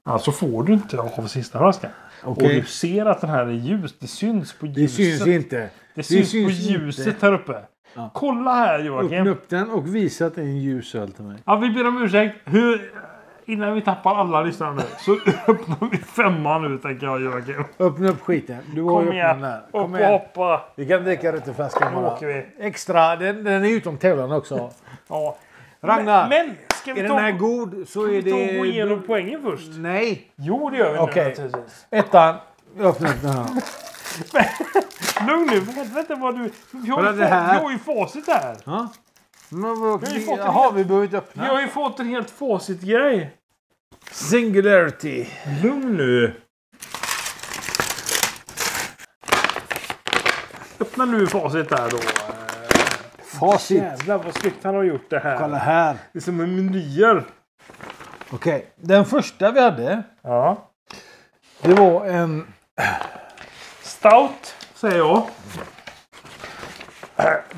Alltså får du inte av sista flaskan. Och
Okej.
du ser att den här är ljus. Det syns på ljuset.
Det syns inte.
Det syns
syns
på
inte.
ljuset här uppe.
Ja.
Kolla här Joakim.
Öppna upp den och visa att det är en ljus öl till mig.
Ja, vi ber om ursäkt. Hur... Innan vi tappar alla lyssnare nu så (laughs) öppnar vi femman nu tänker jag Joakim.
Öppna upp skiten. Du har
Kom
ju öppnat
igen.
den här.
Upp
Kom
och
igen.
hoppa.
Vi kan dricka rätt ur flaskan
Nu
bara.
åker vi.
Extra. Den, den är utom tävlan också.
Ja.
Ragnar,
Men, men ska
är
vi
den här
ta,
god så är
vi ta och gå
det...
igenom poängen först?
Nej.
Jo, det gör vi
Okej.
nu naturligtvis.
Ettan. Jag öppnar upp den här.
Lugn nu, för helvete vad du... Vi har, ju
Kolla
fått,
det här.
vi har ju facit här.
Ja. Men vad...
har ju fått en
Jaha, vi behöver inte
Vi
öppna.
har ju fått en helt facit-grej.
Singularity.
Lugn nu. Öppna nu facit där då.
Facit.
Jävlar vad snyggt han har gjort det här.
Kolla här.
Det är som en menyer.
Okej. Den första vi hade.
Ja.
Det var en...
Stout, säger jag.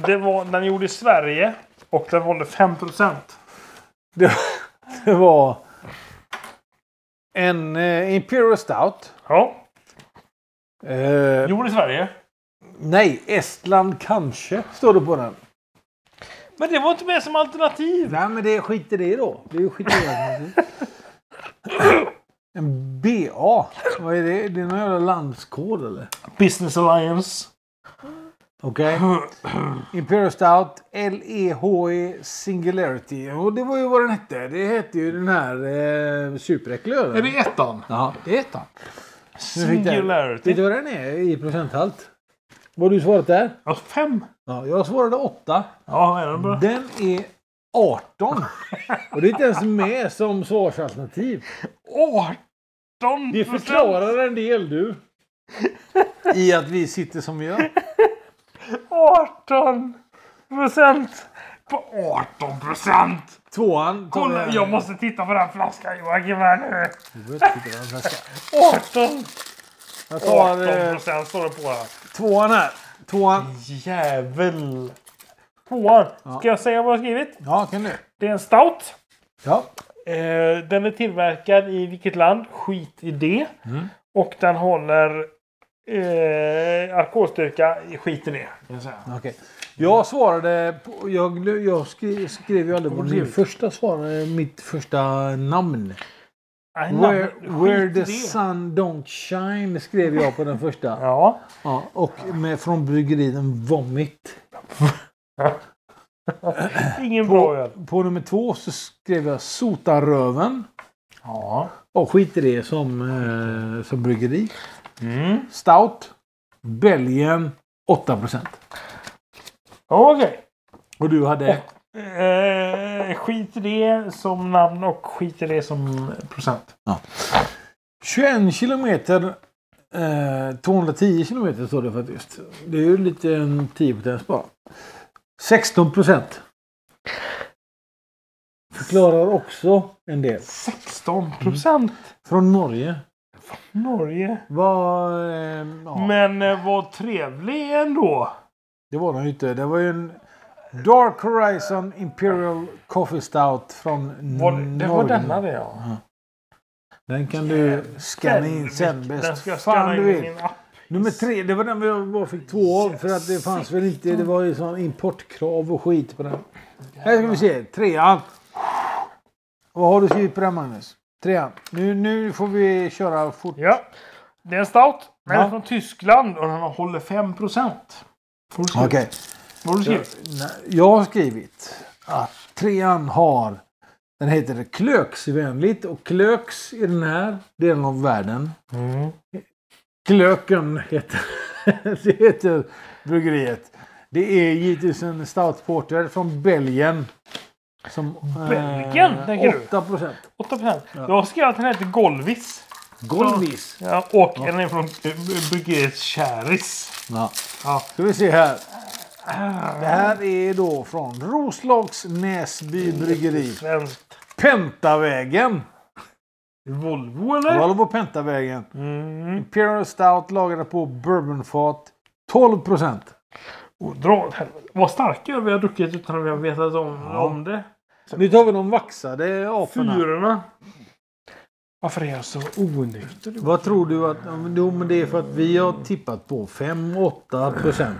Det var, den gjorde i Sverige och den håller 5 procent.
Det, det var... En eh, Imperial Stout.
Ja.
Eh,
Gjord i Sverige.
nej, Estland kanske står det på den.
Men det var inte med som alternativ.
Nej, men det skit i det då. Det är ju skit i det. En BA. Vad är det? Det är någon jävla landskod eller?
Business Alliance.
Okej. Imperial Stout LEHE E Singularity. Och det var ju vad den hette. Det hette ju den här eh, superäckliga ölen.
det ettan?
Ja, det hette den. Nu fick jag- Vet
Singularity.
du vad den är i procenthalt? Vad har du svarat där?
Ja, fem.
Ja, jag svarade 8.
Ja, är den bra?
Den är 18. Och det är inte ens med som svarsalternativ.
18
Det förklarar en del du. I att vi sitter som vi gör.
18 procent! På 18 procent!
Tvåan tar
Kolla,
vi-
jag måste titta på den flaskan Joakim här nu.
Du behöver inte titta på den här
18!
flaskan. Jag
18
tar eh,
procent står det på den.
tvåan här. Tvåan.
Jävel! Tvåan. Ska jag säga vad jag har skrivit?
Ja, kan du.
Det är en stout.
Ja.
Eh, den är tillverkad i vilket land? Skit i det.
Mm.
Och den håller eh, alkoholstyrka. Skit i det. Kan jag säga.
Okej. Jag svarade... På, jag glö- jag skrev, skrev ju aldrig på min första svar. eh, Mitt första namn.
Nej,
Where,
namn-
where
skit i
the
det.
sun don't shine skrev jag på den första.
(laughs) Ja.
Ja, och med, från bryggeriden Vomit.
Ingen bra öl.
På nummer två så skrev jag Sotaröven.
Ja.
Och skit i det som, eh, som bryggeri.
Mm.
Stout. Belgien 8%.
Okej.
Och du hade?
Eh, skit i det som namn och skit i det som procent.
21 kilometer. Eh, 210 kilometer står det faktiskt. Det är ju lite en 10 potens bara. 16 procent. Förklarar också en del.
16 procent.
Från Norge.
Norge.
Var, eh, ja,
Men eh, vad trevlig ändå.
det var den ju inte. Det var ju en Dark Horizon Imperial Coffee Stout från
Var, det
Mm, Norge.
det var denna det ja.
Den kan du scanna in sen
Den
bäst
ska jag
fan
scanna
du
in i
vill.
min app.
Nummer tre, det var den vi bara fick två av. För att det fanns väl inte, det var ju sån importkrav och skit på den. Här ska vi se, trean. Vad har du skrivit på den Magnus? Trean. Nu, nu får vi köra fort.
Ja. Det är en stout. Men
Ja.
från Tyskland och den håller 5 procent.
Okej.
Vad har du skrivit?
Nej, Jag har skrivit att trean har... Den heter Klöksvänligt och Klöks i den här delen av världen.
Mm.
Klöken heter, (laughs) det heter bryggeriet. Det är givetvis en stoutporter från Belgien. Som,
Belgien, tänker du?
8 procent.
8 procent. Jag skrev att den heter Golvis.
Golvis.
Ja, och den är från eh, bryggeriet Käris.
Ja.
Ja.
Ska vi se här. Det här är då från Roslags Näsby bryggeri.
Svenskt.
Pentavägen.
Volvo eller?
Volvo Pentavägen.
Mm.
Imperial Stout lagrade på bourbonfat. 12 procent.
Och dra åt helvete. Vad starka vi har druckit utan att vi har vetat om, om det.
Nu tar vi de vaxade aporna.
Fyrorna. Varför är jag så onykter?
Vad tror du att... ja, men- Jo, men det är för att vi har tippat på 5-8 procent.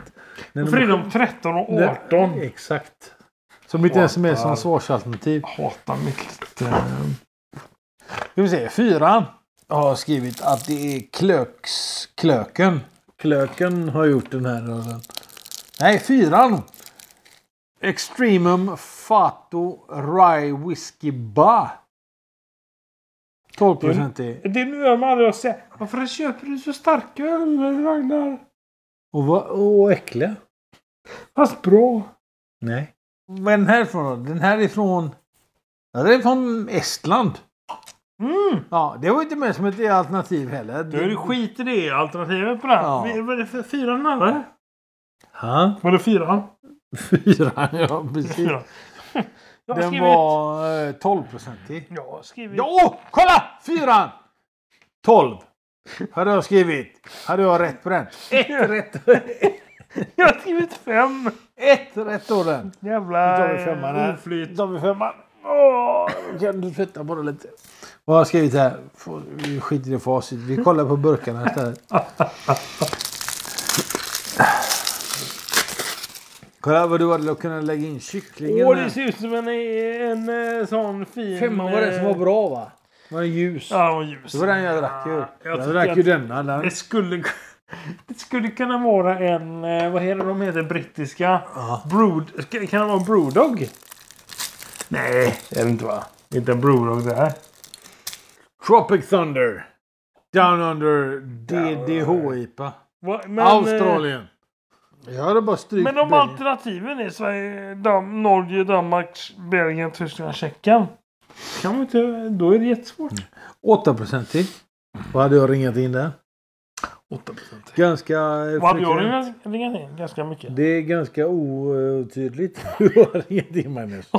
När de-
Varför är de 13 och 18?
Exakt. Som inte ens är med som
Åtta.
svarsalternativ.
Hatar mitt... eh,
Ska vi se. Fyran har skrivit att det är klöks... Klöken. Klöken har gjort den här ölen. Nej, fyran. Extremum Fato Rye Whiskey Bar. 12 procent är...
Det är nu jag med aldrig har sett. Varför köper du så starka öl, Ragnar?
Och, vad- och äckliga.
Fast bra.
Nej. Vad är den här ifrån då? Den här är från... Ja, den är från Estland.
Mm.
Ja, det var inte med som ett alternativ heller.
Då är det skit i det alternativet på den.
Ja.
Vi- Vad är det för fyran eller?
Ha?
Var det fyran?
Fyran, ja precis.
Fyran. Jag har
Den
skrivit...
var eh, 12-procentig.
Jag har skrivit...
Ja, åh, kolla! Fyran! 12. Hade jag skrivit. Hade jag rätt på den.
(laughs)
Ett rätt.
Jag har skrivit fem!
Ett rätt på den.
Jävla...
Då tar vi femman här.
oflyt.
Då tar vi femman. Åh, kan du flytta på det lite? Vad har jag skrivit här? Får- Vi skiter i facit. Vi kollar på burkarna istället. Kolla vad du hade kunnat lägga in kycklingen
Åh, det
här.
ser ut som en, en, eh, sån fin... eh,
Femman eh, var den som var bra va? Var den ljus?
Ja, den var ljus.
Det var den jag drack ju.
Ja, Jag,
jag
tycker
drack
att
ju denna. Den.
Det skulle... (laughs) Det skulle kunna vara en... eh, Vad heter de heter? Brittiska? Brood... ska- Kan det vara en brewdog? Nej, det är det inte va? Det är Inte en brewdog det här.
Tropic Thunder. Down Under DDH-IPA.
Va- Men, eh,
Australien. Jag hade bara strykt
Men om
Belgien.
alternativen är Sverige, Dam Norge, Danmark, Belgien, Tyskland, Tjeckien. Kan man inte, då är det jättesvårt.
Mm. 8-procentig. Vad hade jag ringat in där?
8 procent.
Ganska...
Vad hade jag
frekvent.
ringat- ringat in? Ganska mycket.
Det är ganska otydligt. (laughs) Du har ringat in Magnus.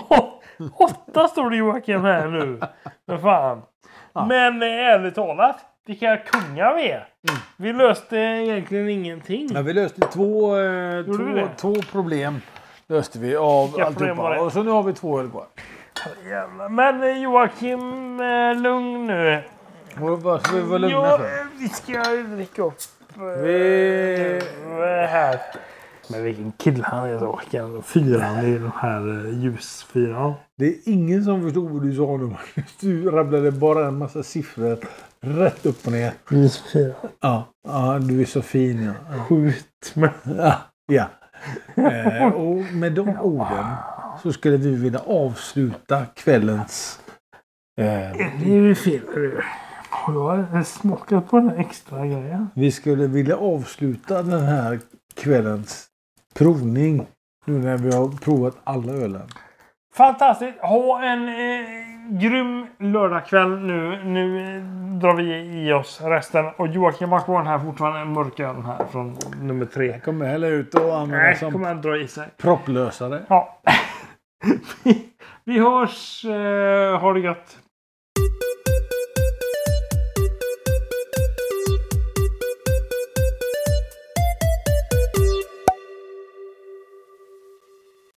Åtta står det Joakim här nu. Men fan. Men eh, ärligt talat, vilka kungar vi är. Vi löste egentligen ingenting.
Ja, vi löste två, eh,
Gjorde vi
två,
det?
två problem. Löste vi av
Vilka problem var
alltihopa.
det?
Och så nu har vi två öl kvar.
Jävlar. Men eh, Joakim, eh, lugn nu.
Och Vad ska vi vara lugna
Ja,
för?
eh, vi ska dricka upp eh,
Vi-
det här. Men vilken kill han är så. Vilken fyran i den här eh, ljusfyran.
Det är ingen som förstod vad du sa nu Magnus. Du rabblade bara en massa siffror. Rätt upp och ner.
Ljusfyran.
Ja, ja du är så fin ja.
Skjut mig.
Ja. (laughs) ja. Eh, och med de orden så skulle vi vilja avsluta kvällens... Eh,
Det är ju fel. du. Har jag smakat på den här extra grejen?
vi skulle vilja avsluta den här kvällens provning. Nu när vi har provat alla ölen.
Fantastiskt! Ha en eh, grym lördagkväll nu. Nu eh, drar vi i oss resten. Och Joakim har kvar den här fortfarande. en mörk öl här från nummer tre.
Kommer hälla ut och använda
Nej,
som
kommer han dra i sig. (laughs)
propplösare.
Ja. vi, vi hörs. Eh, ha det gött.